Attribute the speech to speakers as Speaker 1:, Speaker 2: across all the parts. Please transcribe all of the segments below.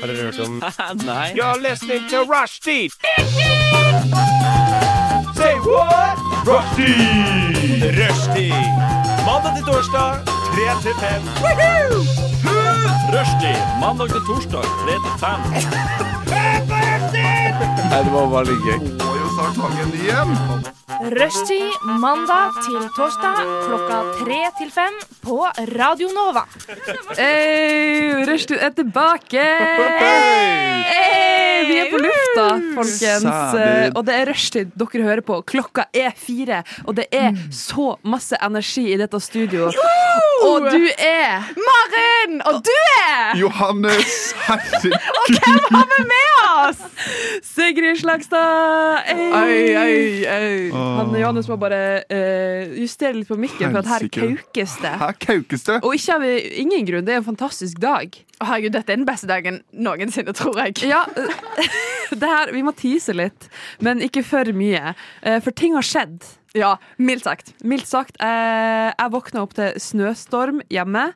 Speaker 1: Har dere hørt om
Speaker 2: Nei.
Speaker 3: You're listening to Rushdie. Say what? Rushdie. Rushdie. Mandag til torsdag, 3 til 5.
Speaker 2: Rushdie mandag til torsdag 3 til 5.
Speaker 4: Rushtid mandag til torsdag klokka tre til fem på Radio Nova.
Speaker 5: Hey, Rushtid er tilbake! Hey, vi er på lufta, folkens.
Speaker 6: Særlig.
Speaker 5: Og det er rushtid dere hører på. Klokka er fire, og det er
Speaker 7: Mm.
Speaker 5: så masse energi i dette studioet. Og du er
Speaker 7: Maren! Og du er
Speaker 6: Johannes, herregud.
Speaker 5: Sigrid Slagstad! Hey.
Speaker 6: Åh.
Speaker 5: Han Johannes må bare eh, justere litt på mikken, for at her
Speaker 6: Helsike.
Speaker 5: kaukes det.
Speaker 6: Her kaukes det.
Speaker 5: Og ikke av ingen grunn. Det er en fantastisk dag.
Speaker 7: Å, Herregud, dette er den beste dagen noensinne, tror jeg.
Speaker 5: Ja, det her, Vi må tease litt, men ikke for mye. Eh, For ting har skjedd.
Speaker 7: Ja, mildt sagt.
Speaker 5: Mildt sagt. Eh, jeg våkna opp til snøstorm hjemme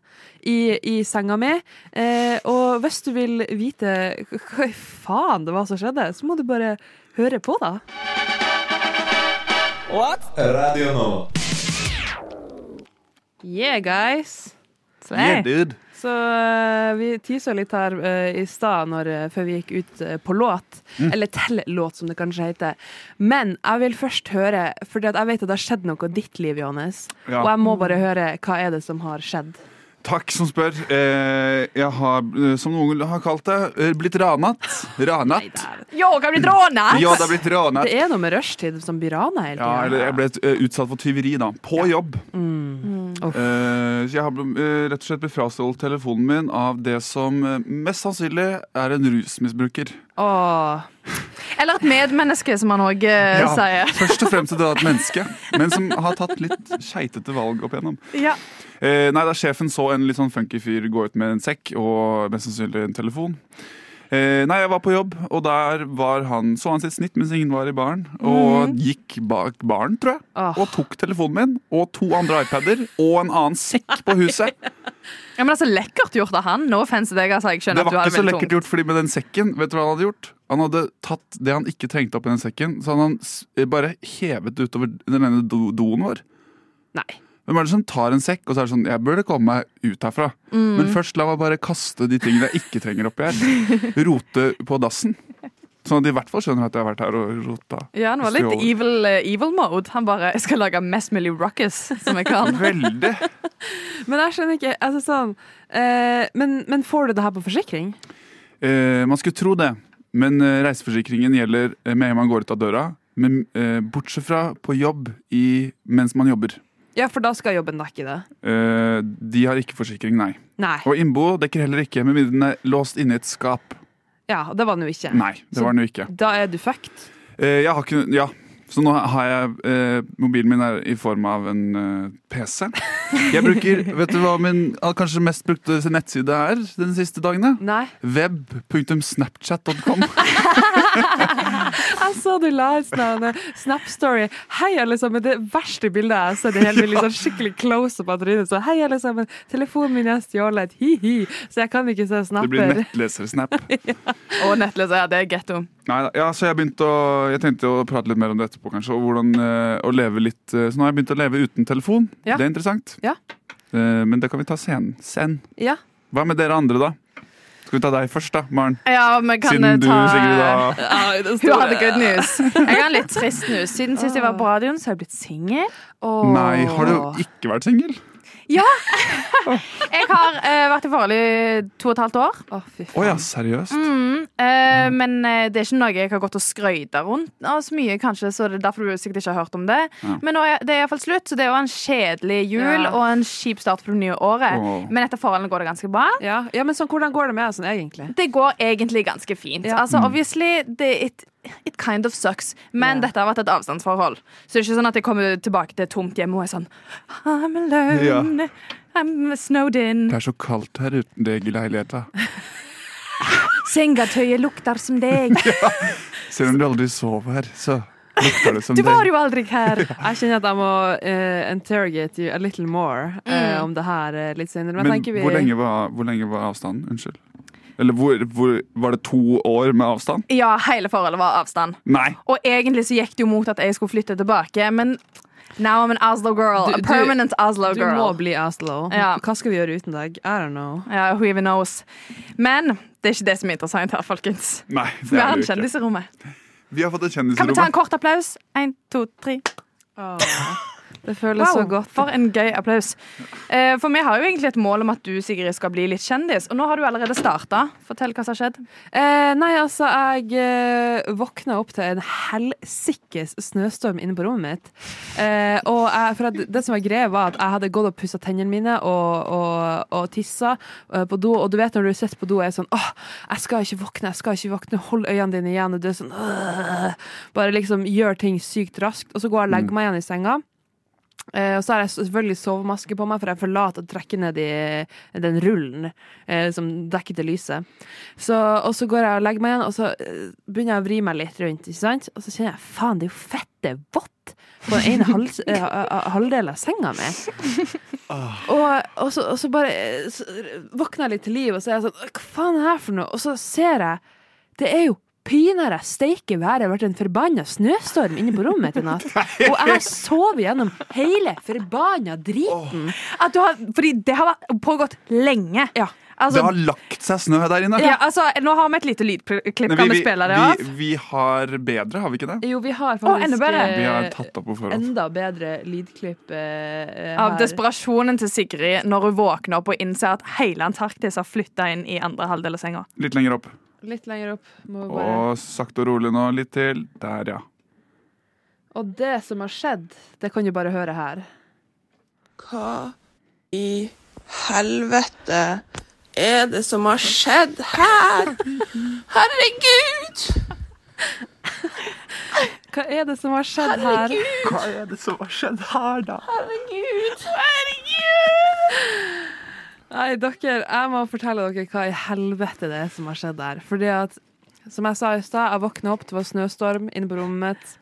Speaker 5: i, i senga mi. Eh, og hvis du vil vite hva hva faen det var som skjedde, så må du bare høre på, da.
Speaker 8: Radio Nova.
Speaker 5: Yeah, guys.
Speaker 6: Yeah, dude.
Speaker 5: Så eh, vi teasa litt her eh, i stad når, eh, før vi gikk ut eh, på låt.
Speaker 6: Mm.
Speaker 5: Eller til låt, som det kanskje heter. Men jeg vil først høre, for jeg vet at det har skjedd noe i ditt liv, Johannes.
Speaker 6: Ja.
Speaker 5: Og jeg må bare høre hva er det som har skjedd.
Speaker 6: Takk som spør. Eh, jeg har, eh, som noen har kalt det, eh, blitt ranet. Ranet.
Speaker 7: Yo, kan bli rånet!
Speaker 6: Ja, det er blitt ranet.
Speaker 5: Det er noe med rushtid som blir rana hele
Speaker 6: Ja,
Speaker 5: tiden.
Speaker 6: eller jeg ble eh, utsatt for tyveri, da. På jobb.
Speaker 5: Mm. Uff.
Speaker 6: Eh, så jeg har bl- eh, rett og slett blitt frastjålet telefonen min av det som eh, mest sannsynlig er en rusmisbruker.
Speaker 5: Åh.
Speaker 7: Eller et medmenneske, som han òg sier.
Speaker 6: Først og fremst et annet menneske, men som har tatt litt skeitete valg opp igjennom.
Speaker 7: Ja.
Speaker 6: Eh, nei, da sjefen så en litt sånn funky fyr gå ut med en sekk og mest sannsynlig en telefon. Eh, nei, jeg var på jobb, og der var han, så han sitt snitt mens ingen var i baren. Og gikk bak baren, tror jeg,
Speaker 5: Åh.
Speaker 6: og tok telefonen min og to andre iPader og en annen sekk på huset.
Speaker 7: ja, men det er så lekkert gjort av han. No offense til deg, altså. Jeg
Speaker 6: Det
Speaker 7: skjønner at
Speaker 6: var
Speaker 7: du har
Speaker 6: ikke så
Speaker 7: det
Speaker 6: lekkert
Speaker 7: veldig tungt.
Speaker 6: gjort, fordi med den sekken, vet du hva han hadde gjort? Han hadde tatt det han ikke trengte oppi den sekken, så hadde han s- eh, bare hevet det utover den ene do doen vår.
Speaker 5: Nei.
Speaker 6: Hvem er det som tar en sekk og så er det sånn Jeg burde komme meg ut herfra.
Speaker 7: Mm.
Speaker 6: Men først la meg bare kaste de tingene jeg ikke trenger oppi her. Rote på dassen. Sånn at de i hvert fall skjønner at jeg har vært her og rota.
Speaker 7: Ja, han var litt evil, eh, evil mode. Han bare 'jeg skal lage mest mulig ruckus som jeg kan'.
Speaker 6: Veldig.
Speaker 5: Men jeg skjønner ikke altså, sånn, eh, men, men får du det her på forsikring?
Speaker 6: Eh, man skulle tro det, men eh, reiseforsikringen gjelder eh, med en gang man går ut av døra. Men eh, bortsett fra på jobb i, mens man jobber.
Speaker 5: Ja, for da skal jobben dekke det.
Speaker 6: Eh, de har ikke forsikring, nei.
Speaker 5: Nei.
Speaker 6: Og innbo dekker heller ikke, med mindre den er låst inne i et skap.
Speaker 5: Ja, og det var den jo ikke.
Speaker 6: Nei, det var den jo ikke.
Speaker 5: Da er du fucked.
Speaker 6: Eh, jeg har ikke Ja. Så nå har jeg eh, Mobilen min er i form av en eh, PC. Jeg bruker Vet du hva min ah, kanskje mest brukte nettside er de siste dagene?
Speaker 5: Nei.
Speaker 6: Web.snapchat.com.
Speaker 5: Jeg så du la ut sånn en Snap-story. Hei, alle sammen. Det verste bildet jeg har sett i hele mitt liv. Sånn skikkelig close på trynet. Så hei, alle sammen. Telefonen min er stjålet. Hi-hi. Så jeg kan ikke se
Speaker 6: Det blir
Speaker 5: snapper.
Speaker 6: nettlesersnap.
Speaker 7: Og nettløser. Ja, det er getto.
Speaker 6: Neida. Ja, så jeg begynte å Jeg tenkte å prate litt mer om det etterpå, kanskje. Og hvordan eh, å leve litt eh, Så nå har jeg begynt å leve uten telefon.
Speaker 5: Ja.
Speaker 6: Det er interessant.
Speaker 5: Ja.
Speaker 6: Eh, men det kan vi ta sen. sen.
Speaker 5: Ja.
Speaker 6: Hva med dere andre, da? Skal vi ta deg først, da, Maren?
Speaker 7: Ja, vi kan eh,
Speaker 6: Siden du,
Speaker 7: ta
Speaker 6: Sigrid, da
Speaker 7: Hun hadde good news. Jeg har litt trist news. Siden sist jeg var på radioen, så har jeg blitt singel.
Speaker 5: Åh.
Speaker 6: Nei, har du ikke vært singel?
Speaker 7: Mm. Jeg har eh, vært i forhold i to og et halvt år.
Speaker 5: Å, fy faen.
Speaker 6: Å ja, seriøst?
Speaker 7: Eh, men eh, det er ikke noe jeg har gått og skrøyta rundt av så mye, kanskje, så det er derfor du sikkert ikke har hørt om det.
Speaker 6: Ja.
Speaker 7: Men nå er, det er iallfall slutt, så det er jo en kjedelig jul
Speaker 5: Ja.
Speaker 7: og en kjip start på det nye året.
Speaker 6: Åh.
Speaker 7: Men etter forholdene går det ganske bra.
Speaker 5: Ja. ja, men sånn, hvordan går det med deg sånn egentlig?
Speaker 7: Det går egentlig ganske fint.
Speaker 5: Ja.
Speaker 7: Altså, obviously, det, it, it kind of sucks, men
Speaker 5: Ja.
Speaker 7: dette har vært et avstandsforhold. Så det er ikke sånn at jeg kommer tilbake til et tomt hjemme og er sånn I'm alone, I'm snowed in.
Speaker 6: Det er så kaldt her uten deg i leiligheta.
Speaker 7: Sengetøyet lukter som deg.
Speaker 6: Selv om du aldri sover her, så lukter det som
Speaker 7: Du
Speaker 6: deg.
Speaker 7: var jo aldri her.
Speaker 5: Jeg kjenner at jeg må eh, interrogate you a
Speaker 7: Mm.
Speaker 5: little more eh, om det her eh, litt senere.
Speaker 6: Men
Speaker 5: Men, jeg tenker vi
Speaker 6: hvor lenge, var, hvor lenge var avstanden? Unnskyld. Eller hvor, hvor var det to år med avstand?
Speaker 7: Ja, hele forholdet var avstand.
Speaker 6: Nei.
Speaker 7: Og egentlig så gikk det jo mot at jeg skulle flytte tilbake, men now I'm an Oslo girl.
Speaker 5: Du-
Speaker 7: a
Speaker 5: du-
Speaker 7: permanent Oslo
Speaker 5: Du
Speaker 7: girl.
Speaker 5: må bli Aslo.
Speaker 7: Ja.
Speaker 5: Hva skal vi gjøre uten deg? I don't know.
Speaker 7: Ja, who even knows. Men det er ikke det som er interessant her, folkens.
Speaker 6: Nei
Speaker 7: Vi
Speaker 6: det
Speaker 7: har
Speaker 6: er
Speaker 7: en
Speaker 6: det jo ikke.
Speaker 7: kjendis i rommet.
Speaker 6: Vi har fått et
Speaker 7: Kan vi ta en
Speaker 6: kjendisrom.
Speaker 7: kort applaus? Én, to, tre.
Speaker 5: Det føles så
Speaker 7: Wow,
Speaker 5: godt.
Speaker 7: for en gøy applaus. Eh, For vi har jo egentlig et mål om at du, Sigrid, skal bli litt kjendis. Og nå har du allerede starta. Fortell hva som har skjedd.
Speaker 5: Eh, nei, altså, jeg eh, våkna opp til en helsikkes snøstorm inne på rommet mitt. Eh, og jeg, for at det som var greia, var at jeg hadde gått og pussa tennene mine og, og, og tissa eh, på do. Og du vet når du sitter på do og er sånn åh, jeg skal ikke våkne, jeg skal ikke våkne. Hold øynene dine igjen. Og du er sånn «Åh». Bare liksom gjør ting sykt raskt. Og så går jeg og legger meg igjen i senga. Eh, og så har jeg selvfølgelig sovemaske på meg, for jeg forlater å trekke ned i den rullen eh, som dekker til lyset. Så, og så går jeg og legger meg igjen, og så eh, begynner jeg å vri meg litt rundt. Ikke sant? Og så kjenner jeg faen, det er jo fette vått på den ene hals, eh, ha- ha- halvdelen av senga mi.
Speaker 6: Ah.
Speaker 5: Og, og, så, og så bare eh, så våkner jeg litt til liv, og så er jeg sånn Hva faen er det her for noe? Og så ser jeg Det er jo pinadø steike været vært en forbanna snøstorm inne på rommet mitt i natt. Og jeg sov gjennom hele forbanna driten.
Speaker 7: At du har, fordi det har vært- pågått lenge.
Speaker 5: Ja.
Speaker 7: Altså,
Speaker 6: Det har lagt seg snø der inne.
Speaker 7: ja, altså, nå har vi et lite lydklipp.
Speaker 6: Men
Speaker 7: Kan vi
Speaker 6: vi,
Speaker 7: spille det av?
Speaker 6: vi, vi har bedre, har vi ikke det?
Speaker 5: Jo, vi har
Speaker 7: Å, enda
Speaker 5: faktisk
Speaker 7: bedre.
Speaker 5: eh,
Speaker 6: Vi har tatt opp på forhånd.
Speaker 5: enda bedre lydklipp eh, eh,
Speaker 7: Av
Speaker 5: her.
Speaker 7: desperasjonen til Sigrid når hun våkner opp og innser at hele Antarktis har flytta inn i andre halvdel av senga.
Speaker 6: Litt lenger opp.
Speaker 5: Litt lenger opp. Må vi bare.
Speaker 6: Og sakte og rolig nå. Litt til. Der, ja.
Speaker 5: Og det som har skjedd, det kan du bare høre her.
Speaker 1: Hva i helvete er det som har skjedd her? Herregud!
Speaker 5: Hva er det som har skjedd her?
Speaker 6: Hva er det som har skjedd her, da?
Speaker 1: Herregud!
Speaker 5: Nei, dere, jeg må fortelle dere hva i helvete det er som har skjedd der. Fordi at, som jeg sa i stad, jeg våkna opp, det var snøstorm inne på rommet mitt.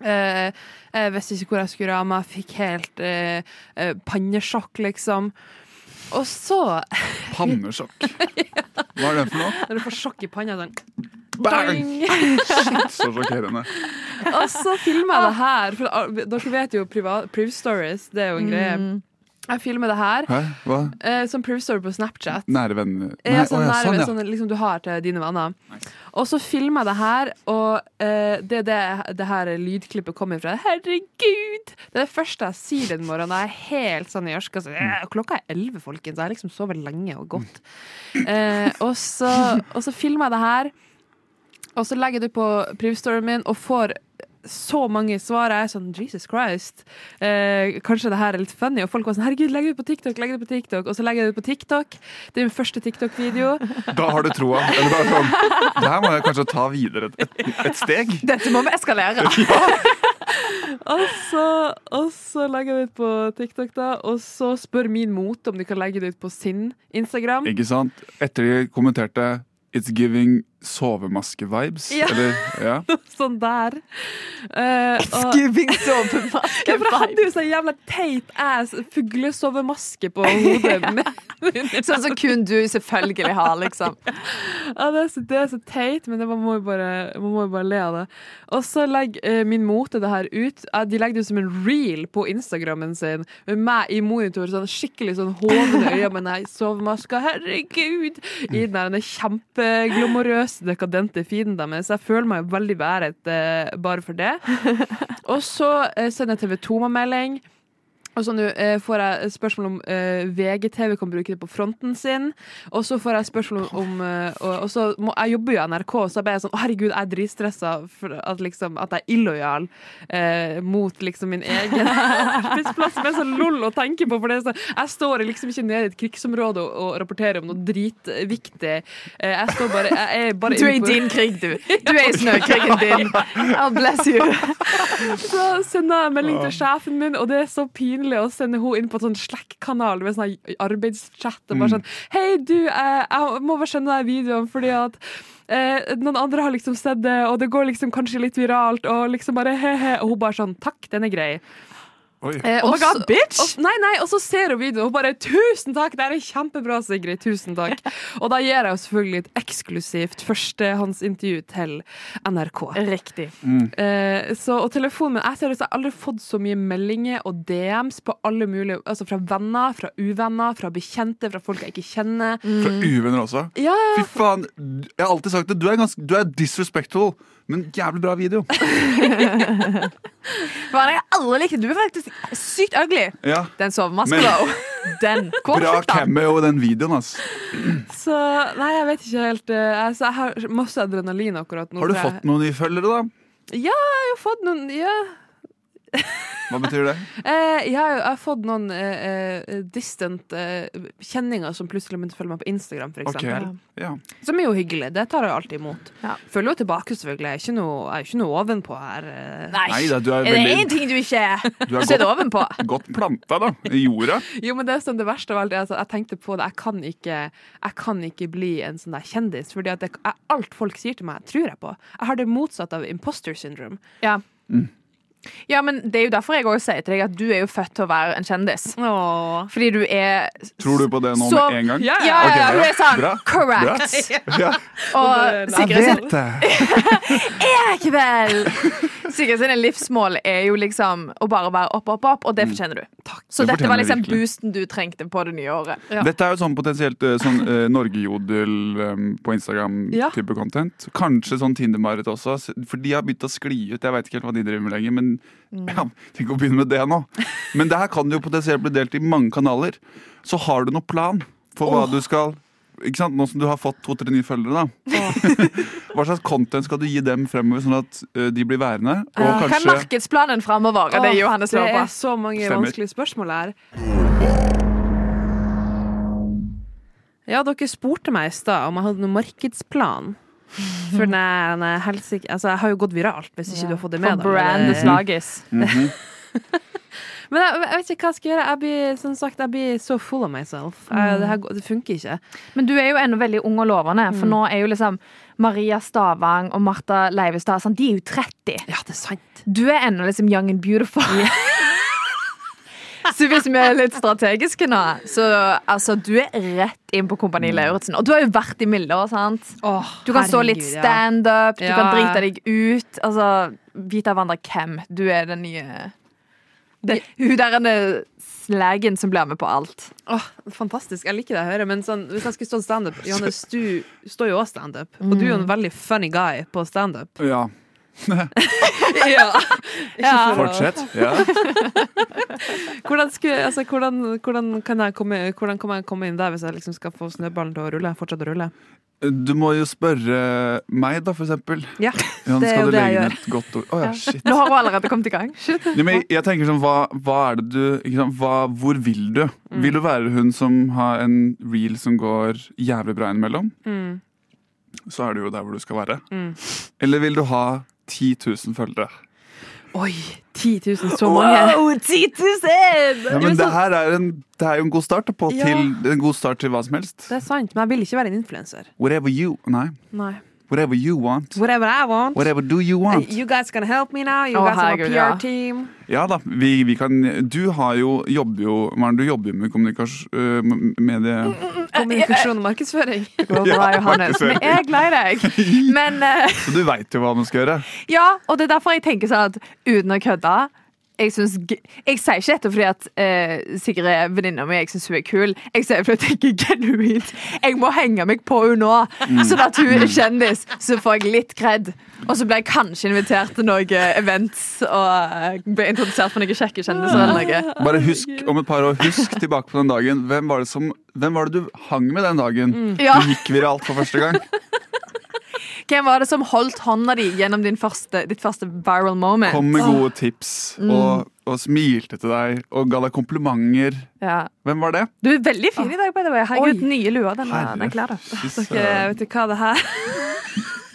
Speaker 5: Eh, jeg visste ikke hvor jeg skulle av meg. Fikk helt eh, eh, pannesjokk, liksom. Og så,
Speaker 6: Pannesjokk. Hva er det for noe?
Speaker 5: når du får sjokk i panna sånn
Speaker 6: Bang!
Speaker 5: boing!
Speaker 6: Shit, så sjokkerende.
Speaker 5: Og så filmer jeg det her. For al- dere vet jo priva- Priv Stories, det er jo en greie. Jeg filmer det her
Speaker 6: Hæ? Hva?
Speaker 5: eh, som Priv Story på Snapchat.
Speaker 6: Nære venner Nei,
Speaker 5: Ja,
Speaker 6: å
Speaker 5: sånn,
Speaker 6: ja,
Speaker 5: nærmere,
Speaker 6: sånn, ja.
Speaker 5: sånn liksom, du har til dine venner. Og så filmer jeg det her, og eh, det er det det her lydklippet kommer fra. Herregud! Det er det første jeg sier den morgenen. Jeg er helt sånn i ørska. Så, eh, klokka er elleve, folkens. Jeg har liksom sovet lenge og godt. Eh, og, så, og så filmer jeg det her, og så legger jeg det på privstoryen min og får så mange svar. Jeg er sånn Jesus Christ. Eh, kanskje det her er litt funny. Og folk var sånn herregud, legg det ut på TikTok, legg det ut på TikTok. Og så legger jeg det ut på TikTok. Det er min første TikTok-video.
Speaker 6: Da har du troa. Eller da er det sånn, det her må jeg kanskje ta videre et, et, et steg.
Speaker 7: Dette må vi eskalere.
Speaker 5: Og så, og så legger jeg det ut på TikTok, da. Og så spør min mote om de kan legge det ut på sin Instagram.
Speaker 6: Ikke sant? Etter de kommenterte 'It's giving sovemaske-vibes'.
Speaker 5: Ja.
Speaker 6: Eller, ja.
Speaker 5: Sånn der. Eh, og,
Speaker 7: Giving sovemaske
Speaker 5: ja, for jeg hadde jo sånn jævla teit ass fuglesovemaske på hodet. med-
Speaker 7: Sånn som kun du selvfølgelig har, liksom.
Speaker 5: Ja, det, er så, det er så teit, men det, man, må jo bare, man må jo bare le av det. Og så legger eh, min mote det her ut. Ja, de legger det ut som en reel på Instagrammen sin. Med meg i monitor, sånn skikkelig sånn hovne øyne med den sovemaska. Herregud! I den der den kjempeglomorøse, dekadente fienden deres. Jeg føler meg jo veldig været eh, bare for det. Og så eh, sender TV 2 meg melding. Og så nå eh, får jeg spørsmål om eh, VGTV kan bruke det på fronten sin. Og så får jeg spørsmål om, om eh, og, og så må, Jeg jobber jo i NRK, så jeg ble sånn Å, herregud, jeg er dritstressa for at, liksom, at jeg er illojal eh, mot liksom min egen arbeidsplass. Som er så lol å tenke på. For det er så, jeg står liksom ikke nede i et krigsområde og, og rapporterer om noe dritviktig. Eh, jeg står bare Jeg er bare
Speaker 7: Du er i
Speaker 5: inne på-
Speaker 7: din krig, du. Du er i snøkrigen din. Oh, bless you.
Speaker 5: Så sender jeg melding til sjefen min, og det er så pinlig å sende henne inn på en sånn Slack-kanal med sånn arbeidschat og bare sånn Hei, du, eh, jeg må bare sende deg videoen fordi at Eh, noen andre har liksom sett det, og det går liksom kanskje litt viralt. Og liksom bare he-he Og hun bare sånn Takk, den er grei.
Speaker 6: Oi.
Speaker 7: Eh, oh my god, bitch!
Speaker 5: Og, nei, nei, og så ser hun videoen og hun bare 'Tusen takk, det her er kjempebra, Sigrid. Tusen takk.' Og da gir jeg jo selvfølgelig et eksklusivt førstehåndsintervju til NRK.
Speaker 7: Riktig.
Speaker 5: Eh, så, og telefonen min, Jeg seriøst, jeg har aldri fått så mye meldinger og DMs på alle mulige Altså fra venner, fra uvenner, fra bekjente, fra folk jeg ikke kjenner.
Speaker 6: Fra uvenner også.
Speaker 5: Ja,
Speaker 6: Fy faen, Jeg har alltid sagt det. Du er, ganske, du er disrespectful, men jævlig bra video.
Speaker 7: Faen, jeg har aldri likt det. Du er faktisk sykt ugly.
Speaker 6: Ja.
Speaker 7: Den sovemaska,
Speaker 6: Men-
Speaker 7: da. Den. Hvor
Speaker 6: Bra
Speaker 7: fikk den?
Speaker 6: cameo i den videoen. ass
Speaker 5: Så nei, jeg vet ikke helt. eh, altså, jeg har masse adrenalin akkurat nå.
Speaker 6: Har du
Speaker 5: tror jeg.
Speaker 6: fått noen nye følgere, da?
Speaker 5: Ja, jeg har fått noen. Ja.
Speaker 6: Hva betyr det?
Speaker 5: Eh, jeg, har, jeg har fått noen eh, eh, distant eh, kjenninger som plutselig begynte å følge meg på Instagram, for
Speaker 6: Ok,
Speaker 5: eksempel.
Speaker 6: ja
Speaker 5: Som er jo hyggelig. Det tar jeg alltid imot.
Speaker 7: Ja.
Speaker 5: Følger jo tilbake, selvfølgelig. Jeg er ikke noe, jeg er ikke noe ovenpå her. eh.
Speaker 6: Nei da, du er
Speaker 7: Er det
Speaker 6: veldig
Speaker 7: én ting du ikke er,
Speaker 6: Du er
Speaker 7: så er det
Speaker 6: godt,
Speaker 7: ovenpå.
Speaker 6: godt planta, da. I jorda.
Speaker 5: Jo, men det, er sånn, det verste av alt er at jeg tenkte på det. Jeg kan ikke, jeg kan ikke bli en sånn der kjendis. Fordi at det, jeg- alt folk sier til meg, tror jeg på. Jeg har det motsatt av imposter syndrome.
Speaker 7: Ja.
Speaker 6: Mm.
Speaker 7: ja, men det er jo derfor jeg også sier til deg at du er jo født til å være en kjendis.
Speaker 5: Åh.
Speaker 7: Fordi du er
Speaker 6: Tror du på det nå
Speaker 7: Så-
Speaker 6: med en gang?
Speaker 5: Ja,
Speaker 7: Ja, ja,
Speaker 6: Ok,
Speaker 7: ja,
Speaker 6: bra.
Speaker 7: hun er sånn.
Speaker 6: Bra.
Speaker 7: Correct.
Speaker 6: Bra. Ja.
Speaker 7: Og
Speaker 5: Jeg
Speaker 7: Sigrid sin
Speaker 6: det.
Speaker 7: Likevel! Sigrid sine livsmål er jo liksom å bare være opp, opp, opp, og det fortjener du. Så
Speaker 6: Mm. Det
Speaker 7: dette var
Speaker 6: fortjener jeg
Speaker 7: liksom
Speaker 6: virkelig.
Speaker 7: boosten du trengte på det nye året.
Speaker 6: Dette er jo sånn potensielt eh, sånn eh, Norgejodel eh, på
Speaker 5: Ja.
Speaker 6: Instagram-type content. Kanskje sånn Tinder-Marit også, s- for de har begynt å skli ut. Jeg veit ikke helt hva de driver med lenger, men ja, tenk å begynne med det nå. Men det her kan jo potensielt bli delt i mange kanaler. Så har du noen plan for hva du skal ikke sant? Nå som du har fått to-tre nye følgere, da. Hva slags content skal du gi dem fremover, sånn at eh, de blir værende? Og
Speaker 7: Hva er
Speaker 6: kanskje
Speaker 7: markedsplanen framover? Det er Johannes
Speaker 5: det
Speaker 7: lurer
Speaker 5: er
Speaker 7: på.
Speaker 5: så mange
Speaker 6: Stemmer.
Speaker 5: vanskelige spørsmål her. Ja, dere spurte meg i stad om jeg hadde noen markedsplan. For nei, nei, helsike Altså, jeg har jo gått viralt, hvis ikke du har fått det med eh,
Speaker 7: For brandet
Speaker 6: Mm.
Speaker 7: slages.
Speaker 5: Men jeg, jeg vet ikke hva jeg skal gjøre. Jeg blir, som sagt, jeg blir så full of myself. Jeg, det, her, går- det funker ikke.
Speaker 7: Men du er jo ennå veldig ung og lovende, for nå er jo liksom Maria Stavang og Martha Leivestad sånn, De er jo 30.
Speaker 5: Ja, det er sant.
Speaker 7: Du er ennå liksom young and beautiful. Så hvis vi er litt strategiske nå, så altså, du er rett inn på Kompani
Speaker 5: Mm.
Speaker 7: Lauritzen. Og du har jo vært i Milde òg, sant? Du kan stå litt standup, du
Speaker 5: Ja,
Speaker 7: kan
Speaker 5: ja.
Speaker 7: drite deg ut. Altså, Vita Vandra hvem? Du er den nye det, Hun der er den slagen som blir med på alt.
Speaker 5: Åh, fantastisk. Jeg liker det jeg hører. Men sånn, hvis jeg skulle stått standup Johannes, du står jo også standup. Og du er
Speaker 7: Mm.
Speaker 5: jo en veldig funny guy på standup.
Speaker 6: Ja.
Speaker 5: ja.
Speaker 7: Ja.
Speaker 6: Fortsett. Ja.
Speaker 5: Hvordan, skulle, altså, hvordan, hvordan, kan jeg komme, hvordan kan jeg komme inn der hvis jeg liksom skal få snøballen til å rulle? Fortsette å rulle?
Speaker 6: Du må jo spørre meg, da, for eksempel.
Speaker 5: Ja.
Speaker 6: Johan,
Speaker 5: Det er
Speaker 6: skal
Speaker 5: jo
Speaker 6: du
Speaker 5: det jeg
Speaker 6: legge
Speaker 5: gjør.
Speaker 6: inn et godt ord? Å ja, shit.
Speaker 7: Nå har hun allerede kommet i gang.
Speaker 6: Ja, men jeg, jeg tenker sånn, hva, hva er det du ikke sant? Hva, Hvor vil du?
Speaker 5: Mm.
Speaker 6: Vil du være hun som har en reel som går jævlig bra innimellom?
Speaker 5: Mm.
Speaker 6: Så er du jo der hvor du skal være. Eller vil du ha 10 000 følgere?
Speaker 5: Oi! 10 000, så mange.
Speaker 7: 10 000!
Speaker 6: Ja,
Speaker 5: men
Speaker 6: men det
Speaker 5: så-
Speaker 6: her er, en, det er jo en god start da, på
Speaker 5: Ja.
Speaker 6: til En god start til hva som helst.
Speaker 5: Det er sant, men jeg vil ikke være en influenser.
Speaker 6: Whatever you Nei.
Speaker 5: Nei.
Speaker 6: Whatever you want.
Speaker 5: Whatever I want.
Speaker 6: Whatever do you want.
Speaker 5: You guys gonna help me now? You
Speaker 7: Å,
Speaker 5: guys are my
Speaker 7: herregud,
Speaker 5: PR
Speaker 7: ja.
Speaker 5: team?
Speaker 6: Ja da, vi, vi kan Du har jo jobber jo Maren, du jobber jo med kommunikasjon... øh, m- medie...
Speaker 5: Kommunikasjon og markedsføring?
Speaker 7: Det går bra, Johannes. Men jeg er glad i deg. Men eh,
Speaker 6: Så du veit jo hva man skal gjøre.
Speaker 7: ja, og det er derfor jeg tenker sånn at uten å kødde jeg, synes, g- jeg sier ikke dette fordi at eh, Sigrid er venninna mi, jeg syns hun er kul. Jeg sier det fordi jeg tenker genuint. Jeg må henge meg på henne nå, sånn at hun er kjendis. Så får jeg litt cred. Og så blir jeg kanskje invitert til noen events og eh, blir introdusert for noen kjekke kjendiser eller noe.
Speaker 6: Bare husk om et par år, husk tilbake på den dagen. Hvem var det, som, hvem var det du hang med den dagen?
Speaker 7: Ja.
Speaker 6: Du gikk viralt for første gang.
Speaker 7: Hvem var det som holdt hånda di gjennom din første, ditt første viral moment?
Speaker 6: Kom med gode tips
Speaker 5: Mm.
Speaker 6: og, og smilte til deg og ga deg komplimenter.
Speaker 7: Ja.
Speaker 6: Hvem var det?
Speaker 7: Du er veldig
Speaker 5: Ah.
Speaker 7: fin i dag, by the way. Herregud, nye lua. Den er, den er klar. da.
Speaker 6: Fy
Speaker 5: Dere,
Speaker 6: søren.
Speaker 5: eh, vet du hva det her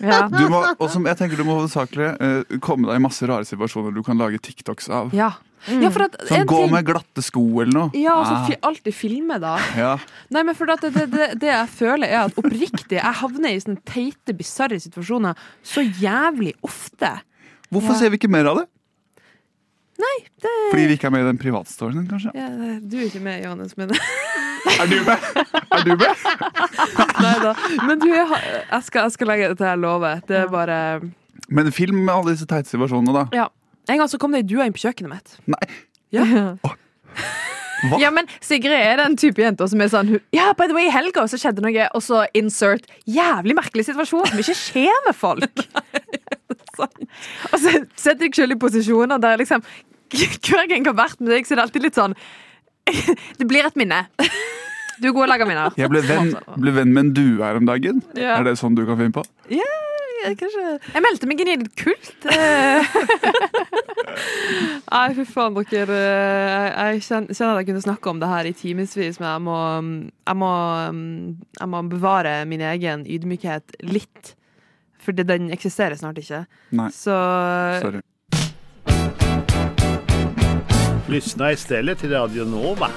Speaker 7: Ja.
Speaker 6: Du må, også, jeg tenker du må hovedsakelig eh, komme deg i masse rare situasjoner du kan lage TikToks av.
Speaker 5: Ja. ja for at
Speaker 6: Sånn,
Speaker 5: en
Speaker 6: gå
Speaker 5: ting-
Speaker 6: med glatte sko eller noe.
Speaker 5: Ja, altså
Speaker 6: Ah,
Speaker 5: fi, alltid filme, da.
Speaker 6: ja.
Speaker 5: Nei, men for at det, det, det, det jeg føler, er at oppriktig, jeg havner i sånne teite, bisarre situasjoner så jævlig ofte.
Speaker 6: Hvorfor ser vi ikke mer av det? Fordi vi ikke er med i den privatstoryen din, kanskje?
Speaker 5: Ja, du er ikke med, Johannes, men
Speaker 6: Er du med? Er du med?
Speaker 5: Nei da. Men du, jeg, har- jeg, skal, jeg skal legge dette her lovet. Det er bare
Speaker 6: Men film med alle disse teite situasjonene, da.
Speaker 5: Ja. En gang så kom det ei due inn på kjøkkenet mitt.
Speaker 6: Nei.
Speaker 5: Ja.
Speaker 6: Hva?
Speaker 7: Ja, men Sigrid er den type jenter som er sånn hun- Ja, by the way, i helga så skjedde noe, og så insert jævlig merkelig situasjon som ikke skjer med folk. og så setter deg selv i posisjoner der liksom Hver gang jeg har vært med deg, så er det alltid litt sånn Det blir et minne. Du er god til å lage minner.
Speaker 6: Jeg ble venn, ble venn med en due her om dagen.
Speaker 5: Ja.
Speaker 6: Er det sånn du kan finne på?
Speaker 5: Kanskje
Speaker 7: Jeg meldte meg inn i en kult. eh,
Speaker 5: Nei, fy faen, dere. eh, Jeg kjen- kjenner at jeg kunne snakke om det her i timevis, men jeg må, mm, jeg, må, mm, jeg må bevare min egen ydmykhet litt. Fordi den eksisterer snart ikke.
Speaker 6: Nei.
Speaker 7: Eh,
Speaker 5: Så
Speaker 6: Sorry.
Speaker 8: Lyssna istället till Radio Nova.